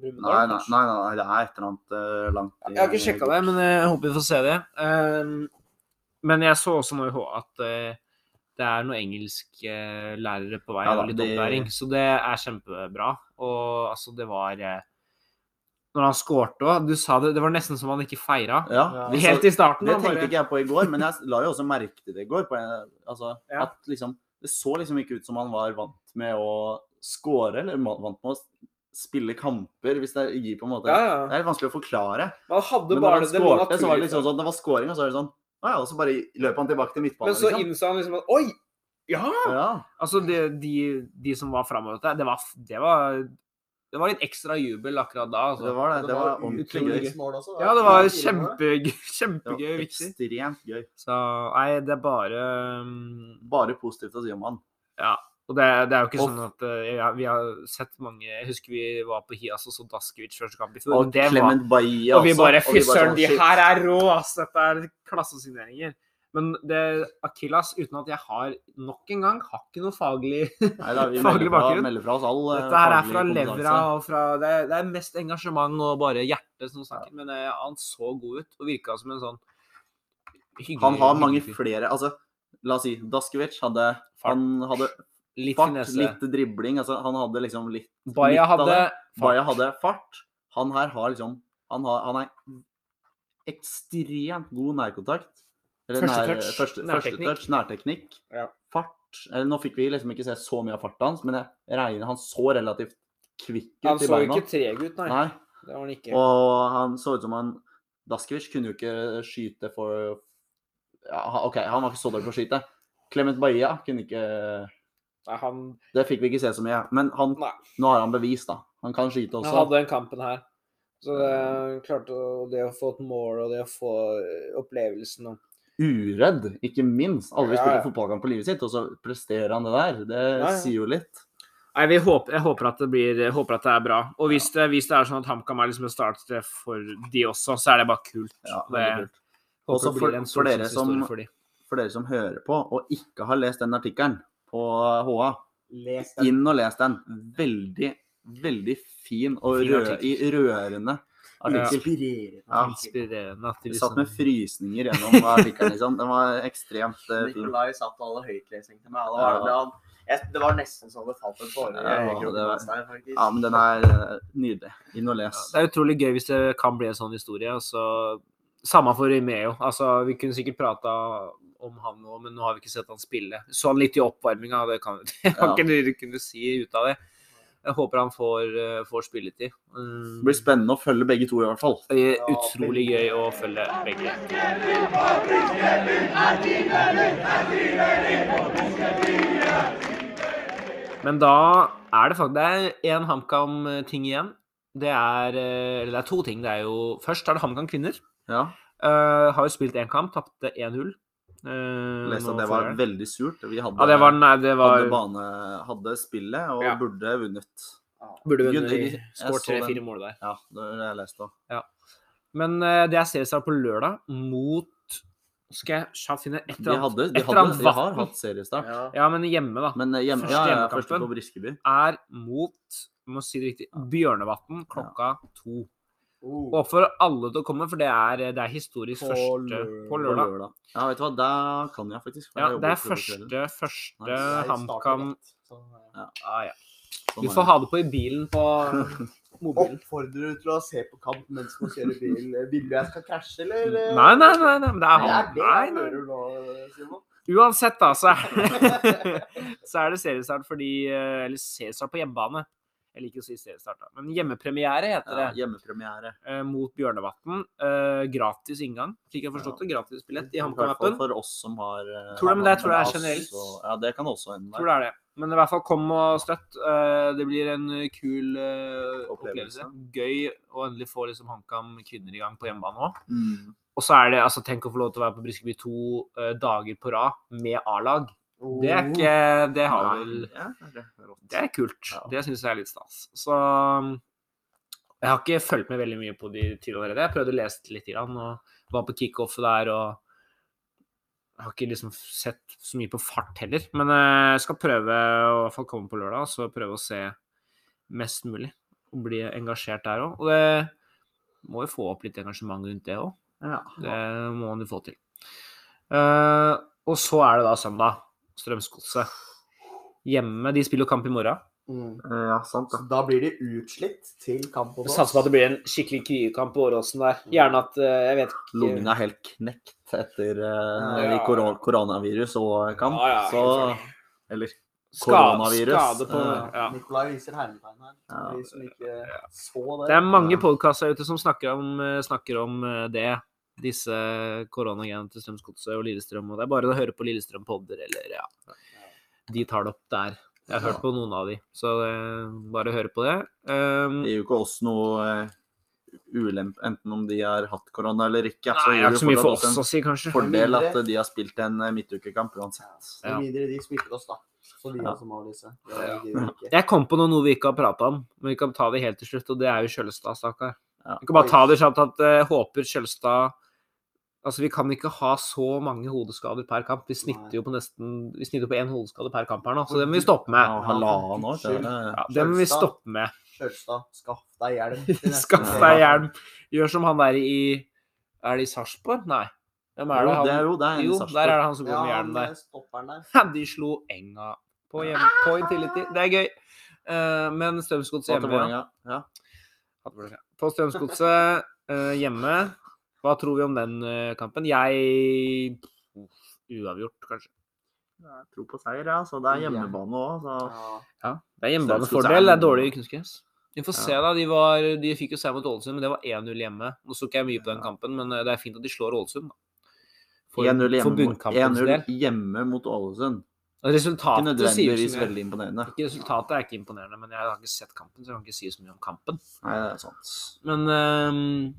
C: Nei, nei, nei, nei, nei, det er et eller annet eh, langt i-
A: Jeg har ikke sjekka det, men eh, jeg håper vi får se det.
D: Ehm, men jeg så også nå i H at eh, det er noen
A: eh,
D: engelsklærere på vei
C: Ja da,
D: og litt
C: det-
D: opplæring, så det er kjempebra. Og altså, det var eh, Når han skårte òg, du sa det, det var nesten som han ikke feira.
C: Ja, vi så-
D: Helt i starten.
C: Altså, Det
D: han
C: tenkte
D: Altså, bare-
C: ikke jeg på i går, men jeg la jo også merke til det i går. På en, altså,
D: Ja.
C: at liksom, det så liksom ikke ut som han var vant med å score, eller ma- vant med å spille kamper, hvis det gir på en måte
A: Ja,
C: Det
A: ja.
C: er litt vanskelig å forklare.
A: Man hadde
C: Men når
A: bare
C: han
A: det lå
C: skårte, så var
A: naturlig
C: det liksom sånn Det var scoring, og så er det sånn Å ja, og så bare løp han tilbake til
A: Men
C: midtbanen,
A: så
C: liksom.
A: innså han liksom at Oi! Ja!
C: Ja.
D: Altså, det, de, de som var framover der, det var, det var Det var litt ekstra jubel akkurat da. Altså.
C: Det var det. Det var ordentlig gøy.
B: utligningsmål også. da.
D: Ja, det var
B: Fire mål.
D: kjempegøy.
C: Det
D: Kjempegøy og
C: var
D: viktig.
C: ekstremt gøy.
D: Så nei, det er bare um,
C: Bare positivt å si om han.
D: Og det, det er jo ikke
C: Og-
D: sånn at eh, ja, Vi har sett mange Jeg husker vi var på Hias og så Daskevic første kamp i fjor.
C: Og
D: Og, det var,
C: Clement Bailly
D: og vi bare Fy søren,
C: sånn,
D: de
C: shit.
D: her er rå, ass! Dette er klassesigneringer. Men det Akillas, uten at jeg har nok en gang, har ikke noe faglig
C: Nei, da, vi
D: Faglig
C: melder fra,
D: bakgrunn.
C: melder fra oss all eh,
D: Dette her er
C: faglig
D: fra
C: kompetanse.
D: levra og fra Det er, det er mest engasjement og bare hjerte som snakker. Men eh, han så god ut og virka som en sånn hyggelig
C: Han har mange
D: hyggelig fyr.
C: flere Altså, la oss si Daskevic hadde
D: Fart.
C: Han hadde
D: Litt
C: fart,
D: finesse.
C: litt dribling. Altså, han hadde liksom litt
D: Baia
C: litt av
D: hadde
C: det. Baia hadde fart. Han her har liksom Han, har, han er ekstremt god nærkontakt. Eller
D: Første
C: nær,
D: touch,
C: Første, første
D: nærteknikk.
C: touch, nærteknikk.
A: Ja.
C: Fart Eller, Nå fikk vi liksom ikke se så mye av farta hans, men jeg regner han så relativt kvikk ut
A: Han
C: i
A: så jo
C: beina.
A: ikke treg ut, nei.
C: Nei.
A: Det var han ikke.
C: Og han så ut som han Daskevic kunne jo ikke skyte for ja, han- OK, han var ikke så dårlig på å skyte. Clement Baia kunne ikke
A: Nei, han,
C: Det fikk vi ikke se så mye. Men han,
A: Nei.
C: nå har han bevis, da. Han kan skyte
A: han
C: også.
A: hadde den kampen her. Så det klarte å, det å få et mål og det å få eh, opplevelsen og
C: Uredd, ikke minst. Aldri
A: Ja,
C: spilt
A: ja.
C: fotballkamp på livet sitt, og så presterer han det der. Det
A: Ja, ja.
C: sier jo litt.
D: Nei, vi håper, Jeg håper at det blir, jeg håper at det er bra. Og hvis, det, hvis det er sånn at HamKam er liksom et startsted for de også, så er det bare kult.
C: Ja,
D: det,
C: veldig kult.
D: håper
C: Også
D: det
C: for-
D: blir en
C: for dere som-
D: solskinnshistorie for de.
C: For dere som hører på og ikke har lest den artikkelen på HA,
B: Les den.
C: inn og les den. Veldig, veldig fin og
D: Fin
C: rø i
D: artikkel.
C: rørende artikkel.
B: Inspirerende.
C: Ja.
D: Inspirerende at de
C: Vi
D: liksom
C: satt med frysninger gjennom artikkelen. Liksom. Den var ekstremt eh, fin.
B: Nikolai satt og hadde høytlesning til meg. og Det var,
C: Ja.
B: det, han, jeg, det var nesten så det falt en tåre
C: Ja,
B: i
C: det
B: kroken
C: var-
B: hans der, faktisk.
C: Ja, men den er eh, nydelig. Inn og les.
D: Ja, Det er utrolig gøy hvis det kan bli en sånn historie. og så- Samme for Romeo. Altså, vi kunne sikkert prata om han nå, men nå har vi ikke sett han spille. Så han litt i oppvarminga, det kan det kan
C: Ja.
D: ikke du kunne si ut av det. Jeg håper han får, eh, får spilletid. Mm.
C: Det blir spennende å følge begge to, i hvert fall.
D: Det er utrolig gøy å følge begge. Men da er det faktisk Det er én HamKam-ting igjen. Det er, eh, eller det er to ting. Det er jo, først er det HamKam kvinner.
C: Ja,
D: Eh, har jo spilt én kamp, tapte 1-0. Uh,
C: Leste at det var veldig surt. Vi hadde,
D: Ja, det var, nei, det var
C: hadde, bane, hadde spillet og
D: Ja.
C: burde vunnet.
D: Burde
C: Gud, jeg-
D: vunnet.
C: jeg
D: Skåret
C: så den.
D: tre-fire mål der.
C: Ja, det har jeg lest òg.
D: Men eh, det er seriestart på lørdag mot Nå skal jeg kjapt finne et
C: De,
D: eller annet.
C: hadde, de,
D: et eller
C: hadde,
D: annet
C: de har
D: vatten.
C: hatt seriestart.
A: Ja.
D: Ja, men hjemme, da.
C: Men eh, hjemme,
D: Første
C: ja, ja,
D: hjemmekampen.
C: første på Briskeby.
D: Er mot må si det riktig, Bjørnevatn klokka to.
B: Oh.
D: Og oppfordrer alle til å komme, for det er, det er historisk
A: På
D: første
A: lø-
D: på
C: på
D: lørdag.
C: lørdag. Ja, vet du hva, da kan jeg faktisk. for
D: Ja, det er
C: jeg jobber på kvelden.
D: første, første
C: Nice.
B: Jeg starter
D: HamKam
B: rett, sånn, eh.
D: ah, ja.
C: Sånn
D: Du
C: er
D: får
C: det.
D: ha det på i bilen på mobilen.
B: Oppfordrer du til å se på kamp mens man kjører bil? Vil du jeg skal krasje, eller? eh?
D: Nei, nei, nei. nei, men det er
B: Det er
D: han.
B: det
D: Nei,
B: jeg
D: nei.
B: hører nå, Simon.
D: Uansett, da, så er, så er det seriestart fordi eh, Eller seriestart på hjemmebane. Jeg liker å si seriestart, da. Men hjemmepremiere heter det.
C: ja, Hjemmepremiere.
D: eh, Mot Bjørnevatn. Eh, Gratis inngang, slik jeg har forstått det. Gratis billett i HamKam-appen.
C: For oss som har eh,
D: Tror du- men det tror jeg er
C: Hamar,
D: generelt.
C: så- Ja, det kan også hende.
D: Tror det er det. Men i hvert fall kom og støtt. Eh, Det blir en eh, kul eh,
C: Opplevelse.
D: opplevelse. Gøy å endelig få liksom HamKam kvinner i gang på hjemmebane òg.
C: Mm.
D: Og så er det, altså tenk å få lov til å være på Briskeby to eh, dager på rad med A-lag. Det er ikke Det har
C: Oh. Nei,
D: vel
C: ja, det er rått.
D: Det er kult.
C: Ja.
D: Det syns jeg er litt stas. Så um, jeg har ikke fulgt med veldig mye på de tidligere. årene. Jeg prøvde å lese litt grann, og var på kickoffet der og har ikke liksom sett så mye på fart heller. Men eh, jeg skal prøve å i hvert fall komme på lørdag og så prøve å se mest mulig. Og bli engasjert der òg. Og det må jo få opp litt engasjement rundt det òg.
C: Ja.
D: Det må han jo få til. Eh, og så er det da søndag. Strømsgodset. Hjemme. De spiller jo kamp i morgen.
B: Mm.
C: Eh, ja, sant
B: Så
C: det.
B: da blir de utslitt til kamp
A: Jeg
B: hos
A: Satser på at det blir en skikkelig kriegerkamp på Åråsen der. Gjerne at eh, Jeg vet ikke
C: Mm. Lungene er helt knekt etter eh,
A: Ja.
C: i koro- koronavirus og kamp,
A: Ja, ja, helt
C: så Eller
D: Skade,
C: Koronavirus.
D: skade på
C: Eh,
D: ja.
B: Nikolai viser hermetegn her.
C: Ja.
B: De som ikke så det.
D: Det er mange podkaster ute som snakker om, eh, snakker om eh, det. Disse koronagreiene til Strømsgodset og Lillestrøm. Og det er bare å høre på Lillestrøm podder, eller ja. De tar det opp der. Jeg har hørt på noen av de, så eh, bare høre på det. Um,
C: Det gir jo ikke oss noe eh, ulempe, enten om de har hatt korona eller ikke.
D: nei, det
C: gir
D: er
C: det
D: ikke så mye
C: fortsatt
D: for oss
C: oss
D: å si, kanskje.
C: en fordel at eh, de har spilt en eh, midtukekamp uansett.
D: Ja.
B: Med mindre de smitter oss, da. Så vi
C: Ja.
B: også må avlyse. Det gidder vi ikke.
D: Jeg kom på noe, noe vi ikke har prata om, men vi kan ta det helt til slutt. Og det er jo Kjølstad, stakkar.
C: Ja.
D: Vi kan bare ta det kjapt at eh, håper Kjølstad Altså, vi kan ikke ha så mange hodeskader per kamp. Vi
B: Nei.
D: snitter jo på nesten Vi snitter på én hodeskade per kamp her nå, så det må vi stoppe med.
C: Ja, halvannen år, så er det
D: Ja, det må vi stoppe med.
B: Kjølstad, skaff deg hjelm. til neste
D: Skaff
B: serie.
D: deg hjelm. Gjør som han der i Er det i Sarpsborg? Nei. Hvem er det?
C: Jo,
D: Han,
C: det er jo det er en i
D: jo, der
C: Sarpsborg.
D: er det han som går
B: Ja,
D: med
B: han
D: hjelm der.
B: stopperen der.
D: De slo enga på hjemme. På Intility. Det er gøy. Eh, men Strømsgodset
C: Så til
D: hjemme
C: Vålerenga, ja.
D: På Strømsgodset eh, hjemme, hva tror vi om den eh, kampen? Jeg Uavgjort, kanskje.
C: Jeg tror på seier, ja. Så det er hjemmebane òg.
B: Ja.
D: Ja, Det er
C: Strømsgodset er
D: hjemmebanefordel. Det er
C: en-
D: dårlig kunstgress. Vi får
C: Ja.
D: se, da. De, var, de fikk jo seier mot Ålesund, men det var 1-0 hjemme. Nå så ikke jeg mye på den kampen, men eh, det er fint at de slår Ålesund, da. For,
C: 1-0 hjemme,
D: for
C: mot-
D: bunnkampens
C: 1-0
D: del.
C: hjemme mot Ålesund. Ikke
D: Resultatet sier jo
C: nødvendigvis
D: så mye.
C: veldig imponerende.
D: Ikke resultatet er ikke imponerende, men jeg har ikke sett kampen, så jeg kan ikke si så mye om kampen.
C: Nei, det er sant.
D: Men ehm,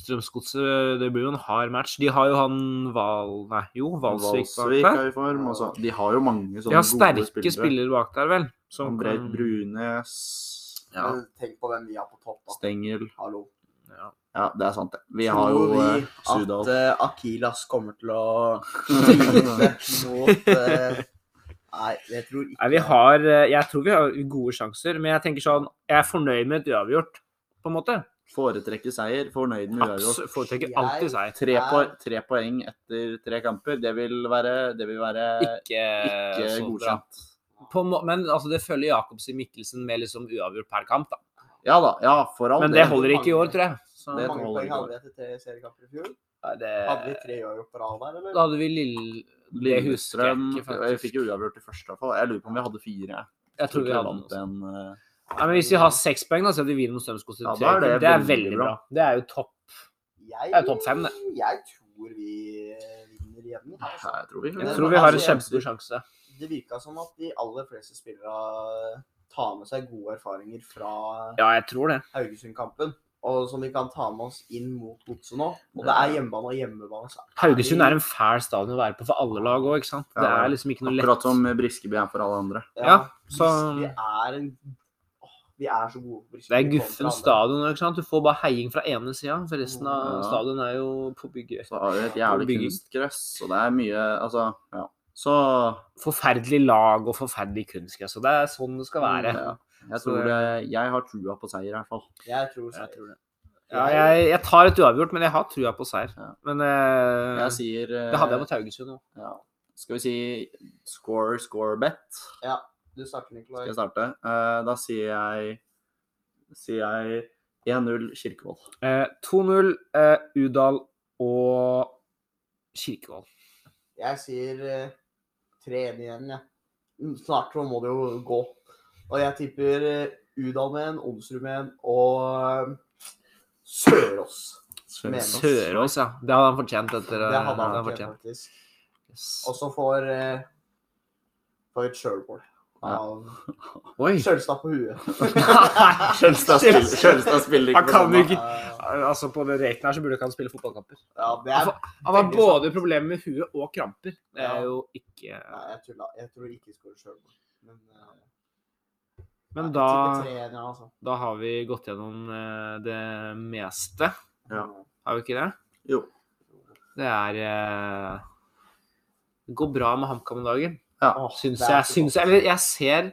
D: Strømsgodset, eh, det blir jo en hard match. De har jo han Val... Nei, jo, Valsvik bak
C: Valsvik
D: der.
C: er i form. Altså, de har jo mange sånne
D: De har sterke
C: gode spillere.
D: spillere. bak der, vel. Som
C: André
D: kan-
C: Brunes,
D: Ja.
B: Men Tenk på hvem vi har på topp, da.
C: Stengel
B: Hallo.
D: Ja.
C: Ja, det er sant, det. Vi
B: Tror
C: har jo
B: vi
C: eh, Sudal.
B: at eh, Akilas kommer til å bryte mot eh, Nei, jeg tror ikke
D: Nei, vi har eh, Jeg tror vi har gode sjanser, men jeg tenker sånn Jeg er fornøyd med et uavgjort, på en måte.
C: Foretrekker seier, fornøyd med uavgjort.
D: Absolutt. Foretrekker alltid seier.
C: Tre, po- tre poeng etter tre kamper, det vil være, det vil være
D: Ikke, eh,
C: eh, ikke
D: så bra.
C: godkjent.
D: På, en må- men altså, det følger Jacobsen Mikkelsen med liksom uavgjort per kamp, da.
C: Ja da, ja, for all
D: Men det holder ikke i år, tror jeg. Så,
C: Det
B: Hvor mange
C: holder
B: poeng
C: ikke.
B: hadde vi etter tre seriekamper i fjor?
D: Nei, det,
B: Hadde vi tre år på rad der,
D: da
B: eller?
D: hadde vi Lille... Det husker jeg
C: Lillestrøm
D: ikke,
C: Jeg
D: faktisk.
C: fikk jo uavgjort i første, i hvert fall. Jeg lurer på om vi hadde fire. jeg.
D: Jeg tror vi
C: ikke
D: hadde
C: vant
D: noe.
C: en, eh,
D: Nei, men Hvis vi har seks poeng, da, så er det Wien mot Strømsgodset. i
C: Ja, da
D: tre
C: er det
D: kamper. det er
C: veldig
D: veldig
C: bra.
D: bra. Det er jo topp.
B: Jeg,
D: Det er topp fem, det.
B: jeg tror vi eh, vinner jevnt. altså.
C: Jeg tror vi,
D: Jeg
B: Men
D: tror vi har en
B: altså, jeg-
D: kjempestor sjanse.
B: Det virka som at de aller fleste spillere tar med seg gode erfaringer fra
D: Ja, jeg tror det.
B: Haugesund-kampen. Og som vi kan ta med oss inn mot godset nå. Og det er hjemmebane og hjemmebane. Så
D: Haugesund er en fæl stadion å være på for alle lag òg, ikke sant. Det
C: Ja,
D: er liksom ikke noe lett.
C: Akkurat som Briskeby er for alle andre.
D: Ja, så-
B: Hvis vi er en Åh, De er så gode på
D: Det er
B: Brisbane kontra
D: guffen
B: andre.
D: stadion. ikke sant? Du får bare heiing fra ene sida, for resten av
C: Ja.
D: stadion er jo på bygget.
C: Så har du et jævlig
D: Bygging.
C: kunstgress, og det er mye Altså, ja. Så
D: Forferdelig lag og forferdelig kunstgress. Og det er sånn det skal være.
C: Mm, ja. Jeg
D: Så-
C: tror det Jeg har trua på seier, i hvert fall.
B: Jeg tror,
D: Jeg
B: så.
D: tror det. Ja, jeg, jeg tar et uavgjort, men jeg har trua på seier.
C: Ja.
D: Men eh,
C: Jeg sier eh,
D: det hadde jeg mot Haugesund òg.
C: ja. Skal vi si score, score bet?
B: Du snakker, Nikolai.
C: Skal jeg starte? Eh, da sier jeg Sier jeg 1-0 Kirkevold.
D: Eh, 2-0 eh, Udal og Kirkevold.
B: Jeg sier eh, 3-1 igjen, jeg. Mm, Snart så må det jo gå. Og jeg tipper eh, Udal med en, Onsrud med en og eh, Sørås. Sørås.
D: Sørås, ja. Det hadde han fortjent etter
B: Det
D: eh, det
B: hadde han
D: hadde
B: ikke, faktisk.
D: Yes.
B: Og så får eh, får et sjølmål. av
D: Oi!
B: Sjølstad på huet.
C: Kjølstad spiller, Kjølstad spiller
D: Han
C: ikke
D: kan jo
C: på
D: ikke
B: Eh,
D: Altså, på den raten her så burde ikke han spille fotballkamper.
B: ja, det er
D: Han har
B: Veldig
D: både problemer med huet og kramper. Det
B: Ja.
D: er jo ikke
B: Nei, jeg tulla. Jeg tror ikke de skårer sjølmål. Men, eh,
D: Men
B: jeg
D: da,
B: tipper 3-1, ja, altså.
D: da har vi gått gjennom eh, det meste,
C: Ja.
D: har vi ikke det?
C: Jo.
D: Det er eh, Det går bra med HamKam om dagen,
B: Åh,
D: syns
B: det er
D: jeg.
B: så
D: Syns jeg eller jeg ser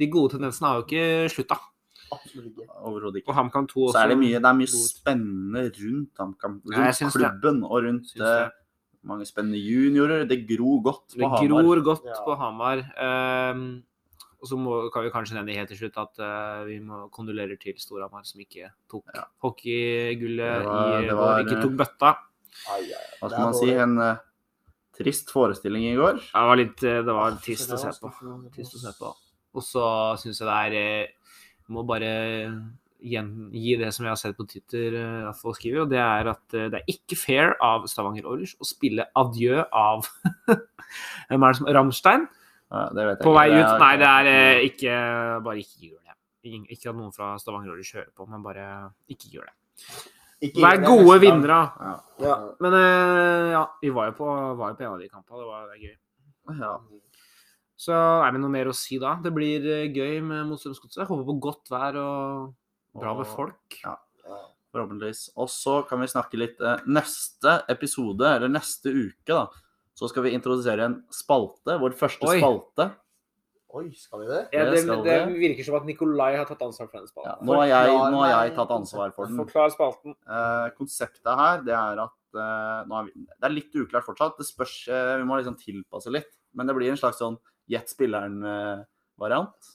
D: De gode tendensene har jo ikke slutta.
B: godt. Absolutt ikke.
C: Overhodet
D: Og
C: ikke.
D: HamKam 2 også.
C: Så er det mye, det er mye
D: god.
C: spennende rundt HamKam.
D: Ja, jeg
C: Rundt
D: syns det.
C: klubben og rundt
D: Syns det.
C: eh, mange spennende juniorer. Det gror godt
D: Det
C: på Hamar.
D: gror godt
B: Ja.
D: på Hamar. Ehm, og så må, kan vi kanskje nevne helt til slutt at eh, vi må kondolerer til Storhamar, som ikke tok
C: Ja.
D: hockeygullet
C: Det var-
D: i
C: det
D: går.
C: var,
D: Ikke
C: eh,
D: tok bøtta.
B: Ai, ai, ai. Det er
C: Hva skal man si?
B: dårlig.
C: En eh, trist forestilling i går.
D: Det var litt eh, Det var trist å se på. Trist å se på. Og så syns jeg det er eh, Må bare gjengi det som jeg har sett på Twitter eh, at folk skriver, og det er at eh, det er ikke fair av Stavanger Oilers å spille adjø av Hvem er det som Ramstein?
C: Ja, det vet jeg
D: På
C: ikke.
D: vei
C: Det
D: ut?
C: er-
D: Nei, det er eh, ikke Bare ikke gjør det. Ingen- Ikke at noen fra Stavanger Oilers hører på, men bare ikke gjør det.
B: Ikke
D: Vær
B: ille,
D: gode
B: neste gang.
D: vinnere.
C: Ja.
A: Ja.
D: Men eh, ja, vi var jo på, var jo på en av de kampene. Det var det er gøy.
C: Ja.
D: Så er det noe mer å si da? Det blir eh, gøy med Motstrømsgodset. Håper på godt vær og bra med
C: Og-
D: folk.
C: ja.
B: Ja.
C: Forhåpentligvis. Og så kan vi snakke litt eh, neste episode, eller neste uke, da. Så skal vi introdusere en spalte. Vår første
D: Oi.
C: spalte.
B: Oi, skal vi det?
A: Ja,
C: Det
A: det,
C: skal
A: det
C: vi.
A: virker som at Nikolai har tatt ansvar for denne
C: Ja,
A: spalten.
C: nå, har jeg,
B: Forklar
C: nå har jeg
B: meg
C: tatt ansvar for den.
A: Forklar spalten.
C: Eh, konseptet her, det er at eh, nå er vi, Det er litt uklart fortsatt. Det spørs eh, Vi må liksom tilpasse litt. Men det blir en slags sånn gjett spilleren-variant.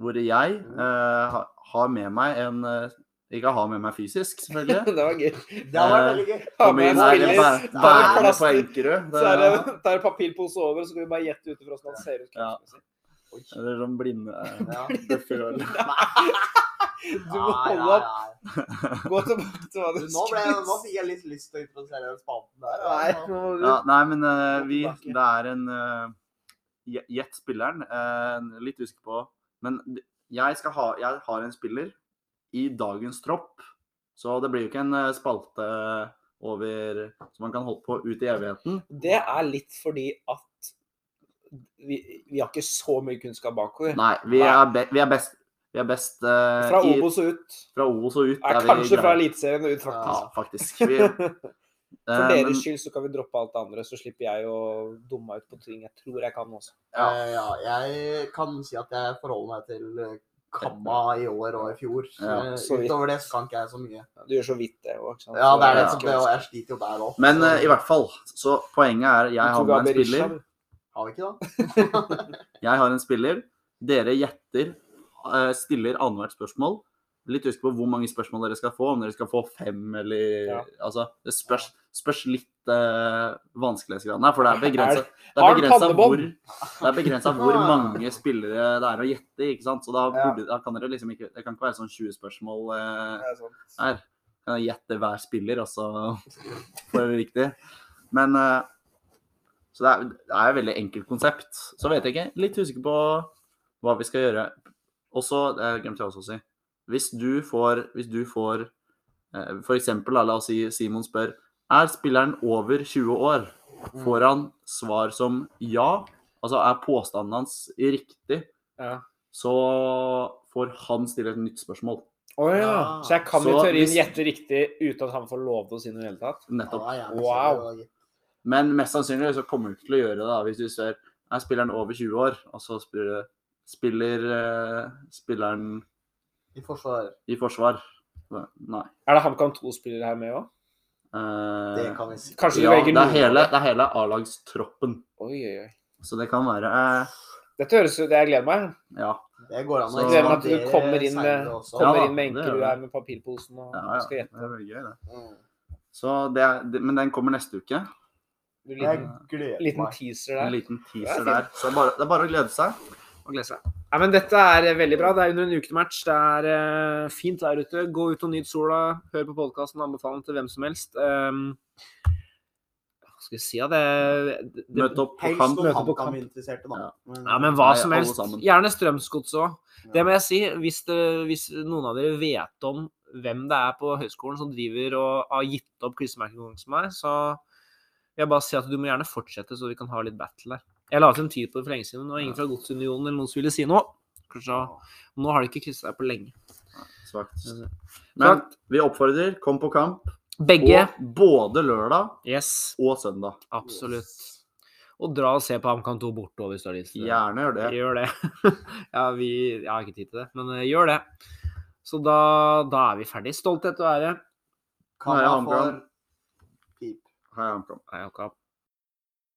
C: Hvor jeg eh, ha, har med meg en eh, Ikke har med meg fysisk, selvfølgelig.
A: Det var gøy.
B: Det har vært veldig gøy.
A: Ha
C: Kommer
A: med
C: inn
A: en
C: her
A: spiller,
C: bæ-
B: det er
C: bærende på
A: plaster.
C: Enkerud.
A: så er
C: Det-
A: det, tar en papirpose over, så kan vi bare gjette ut ifra hvordan han ser ut.
C: Ja.
A: kroppsmessig.
B: Oi.
C: Eller sånn blinde eh,
B: Ja.
C: bøffer og-
A: Du må
B: Nei,
A: holde
B: nei,
A: opp.
B: nei.
A: Gå tilbake til hva du
B: Du, Nå, ble,
A: skulle
B: nå
A: si.
B: fikk jeg litt lyst til å introdusere den spalten der.
A: Nei,
B: ja.
A: nå må du-
C: ja, Nei, men eh, vi Det er en eh, gje- Gjett spilleren. eh, litt usikker på Men d- jeg, skal ha, jeg har en spiller i dagens tropp, så det blir jo ikke en eh, spalte over som man kan holde på ut i evigheten.
A: Det er litt fordi at vi, vi har ikke så mye kunnskap bakover.
C: Nei, vi
A: Nei.
C: er, be, vi er best Vi er best eh,
A: Fra
C: i-
A: Obos og ut.
C: fra Obos og ut.
A: Er
C: vi
A: kanskje fra
C: grei.
A: Eliteserien og ut,
C: Ja,
A: faktisk.
C: faktisk. Vi,
A: For
C: Eh, men-
A: deres skyld så kan vi droppe alt det andre, så slipper jeg å dumme meg ut på ting jeg tror jeg kan også.
C: Ja.
B: Eh, ja, jeg kan si at jeg forholder meg til eh, Kamma i år og i fjor.
C: Ja,
B: Eh,
A: så vidt.
B: Utover det så kan ikke jeg så mye.
A: Du gjør så vidt det òg, ikke sant?
B: Ja, det er det.
C: Ja.
B: Så det og jeg sliter jo der òg.
C: Men eh, i hvert fall, så poenget er jeg har med en spiller.
B: Har vi ikke det?
C: Jeg har en spiller. Dere gjetter, eh, stiller annethvert spørsmål. Litt husk på hvor mange spørsmål dere skal få, om dere skal få fem eller
A: Ja.
C: Altså, det spørs, spørs litt eh, vanskelighetsgraden her, for det er begrensa det
A: har
C: er
A: han
C: begrenset hvor,
A: pannebånd?
C: det er begrenset hvor mange spillere det er å gjette, ikke sant? Så da,
A: Ja.
C: burde, da kan dere liksom ikke Det kan ikke være sånn 20 spørsmål eh,
A: Det er sant.
C: her. Kan jeg gjette hver spiller, og så får dere riktig. Men eh, Så det er, det er et veldig enkelt konsept. Så vet jeg ikke. Litt usikker på hva vi skal gjøre. Og så Det glemte jeg også å si. Hvis du får Hvis du får eh, For eksempel, da, la oss si Simon spør Er spilleren over 20 år? Får han svar som ja? Altså er påstanden hans riktig?
A: Ja.
C: Så får han stille et nytt spørsmål.
A: Å ja.
B: Ja.
A: Så jeg kan i
C: Så
A: teorien
C: hvis-
A: gjette riktig uten at han får lov til å si noe i det hele tatt?
C: Nettopp.
B: Ja, gjerne
A: Wow.
B: selv,
C: Men mest sannsynlig så kommer du ikke til å gjøre det, da, hvis du ser er spilleren over 20 år, og så spiller, spiller eh, spilleren
B: I forsvar.
C: i forsvar. Nei.
A: Er det HamKam 2-spillere her med òg?
C: Eh,
B: Det kan vi si.
A: Kanskje du
C: ja,
A: velger
C: det er
A: noen?
C: hele, det er hele A-lagstroppen.
A: Oi, oi, oi.
C: Så det kan være eh,
A: Dette høres ut Jeg gleder meg.
C: Ja.
B: Det går an å
C: Så-
A: Jeg gleder meg til du
B: ekspandere
A: kommer inn med,
B: senere også.
A: kommer
C: Ja da,
A: inn med
C: det
A: enkel
C: gjør
A: du
C: det.
A: er med papirposen og
C: ja, ja.
A: skal
C: Det
A: gjette.
C: er veldig gøy, det.
B: Mm.
C: Så det er, det- men den kommer neste uke.
A: Du,
B: Jeg
A: liten,
B: gleder
A: liten
B: meg.
A: teaser
C: En
A: der.
C: liten teaser
A: Det er
C: der. Så det er bare, det er bare å glede seg.
D: og glede seg. Nei, men dette er eh, veldig bra. Det er under en uke til match. Det er eh, fint der ute. Gå ut og nyt sola. Hør på podkasten. Anbefal den til hvem som helst. Ehm, hva skal jeg si? Ja, det, det
C: Møte opp på
B: Helst
C: kamp.
B: noen
D: møte på kamp.
B: HamKam-interesserte, da.
C: Ja.
B: Men-
D: ja, men hva
C: Nei,
D: som
C: alle
D: helst.
C: sammen.
D: Gjerne Strømsgods òg.
B: Ja.
D: Det må jeg si. Hvis, det, hvis noen av dere vet om hvem det er på høyskolen som driver og har gitt opp klistremerkekonkurransen som meg, så vil jeg bare si at du må gjerne fortsette, så vi kan ha litt battle der. Jeg la ut en tid på det for lenge siden, og ingen fra Godsunionen eller noen som ville si noe. Kanskje, nå har de ikke krysset seg på lenge.
C: Svakt. Men
D: Svakt.
C: vi oppfordrer, kom på kamp.
D: Begge.
C: Og både lørdag
D: Yes,
C: og søndag.
D: absolutt. Og dra og se på HamKam 2 bortover hvis du har lyst til det.
C: Gjerne gjør det.
D: Gjør det. ja, vi, jeg har ikke tid til det, men eh, gjør det. Så da, da er vi ferdig. Stolthet og ære.
B: Kan
C: Nei,
B: man
C: HamKam.
B: få- Pip.
C: Hei, HamKam.
D: Nei, jeg har ikke hatt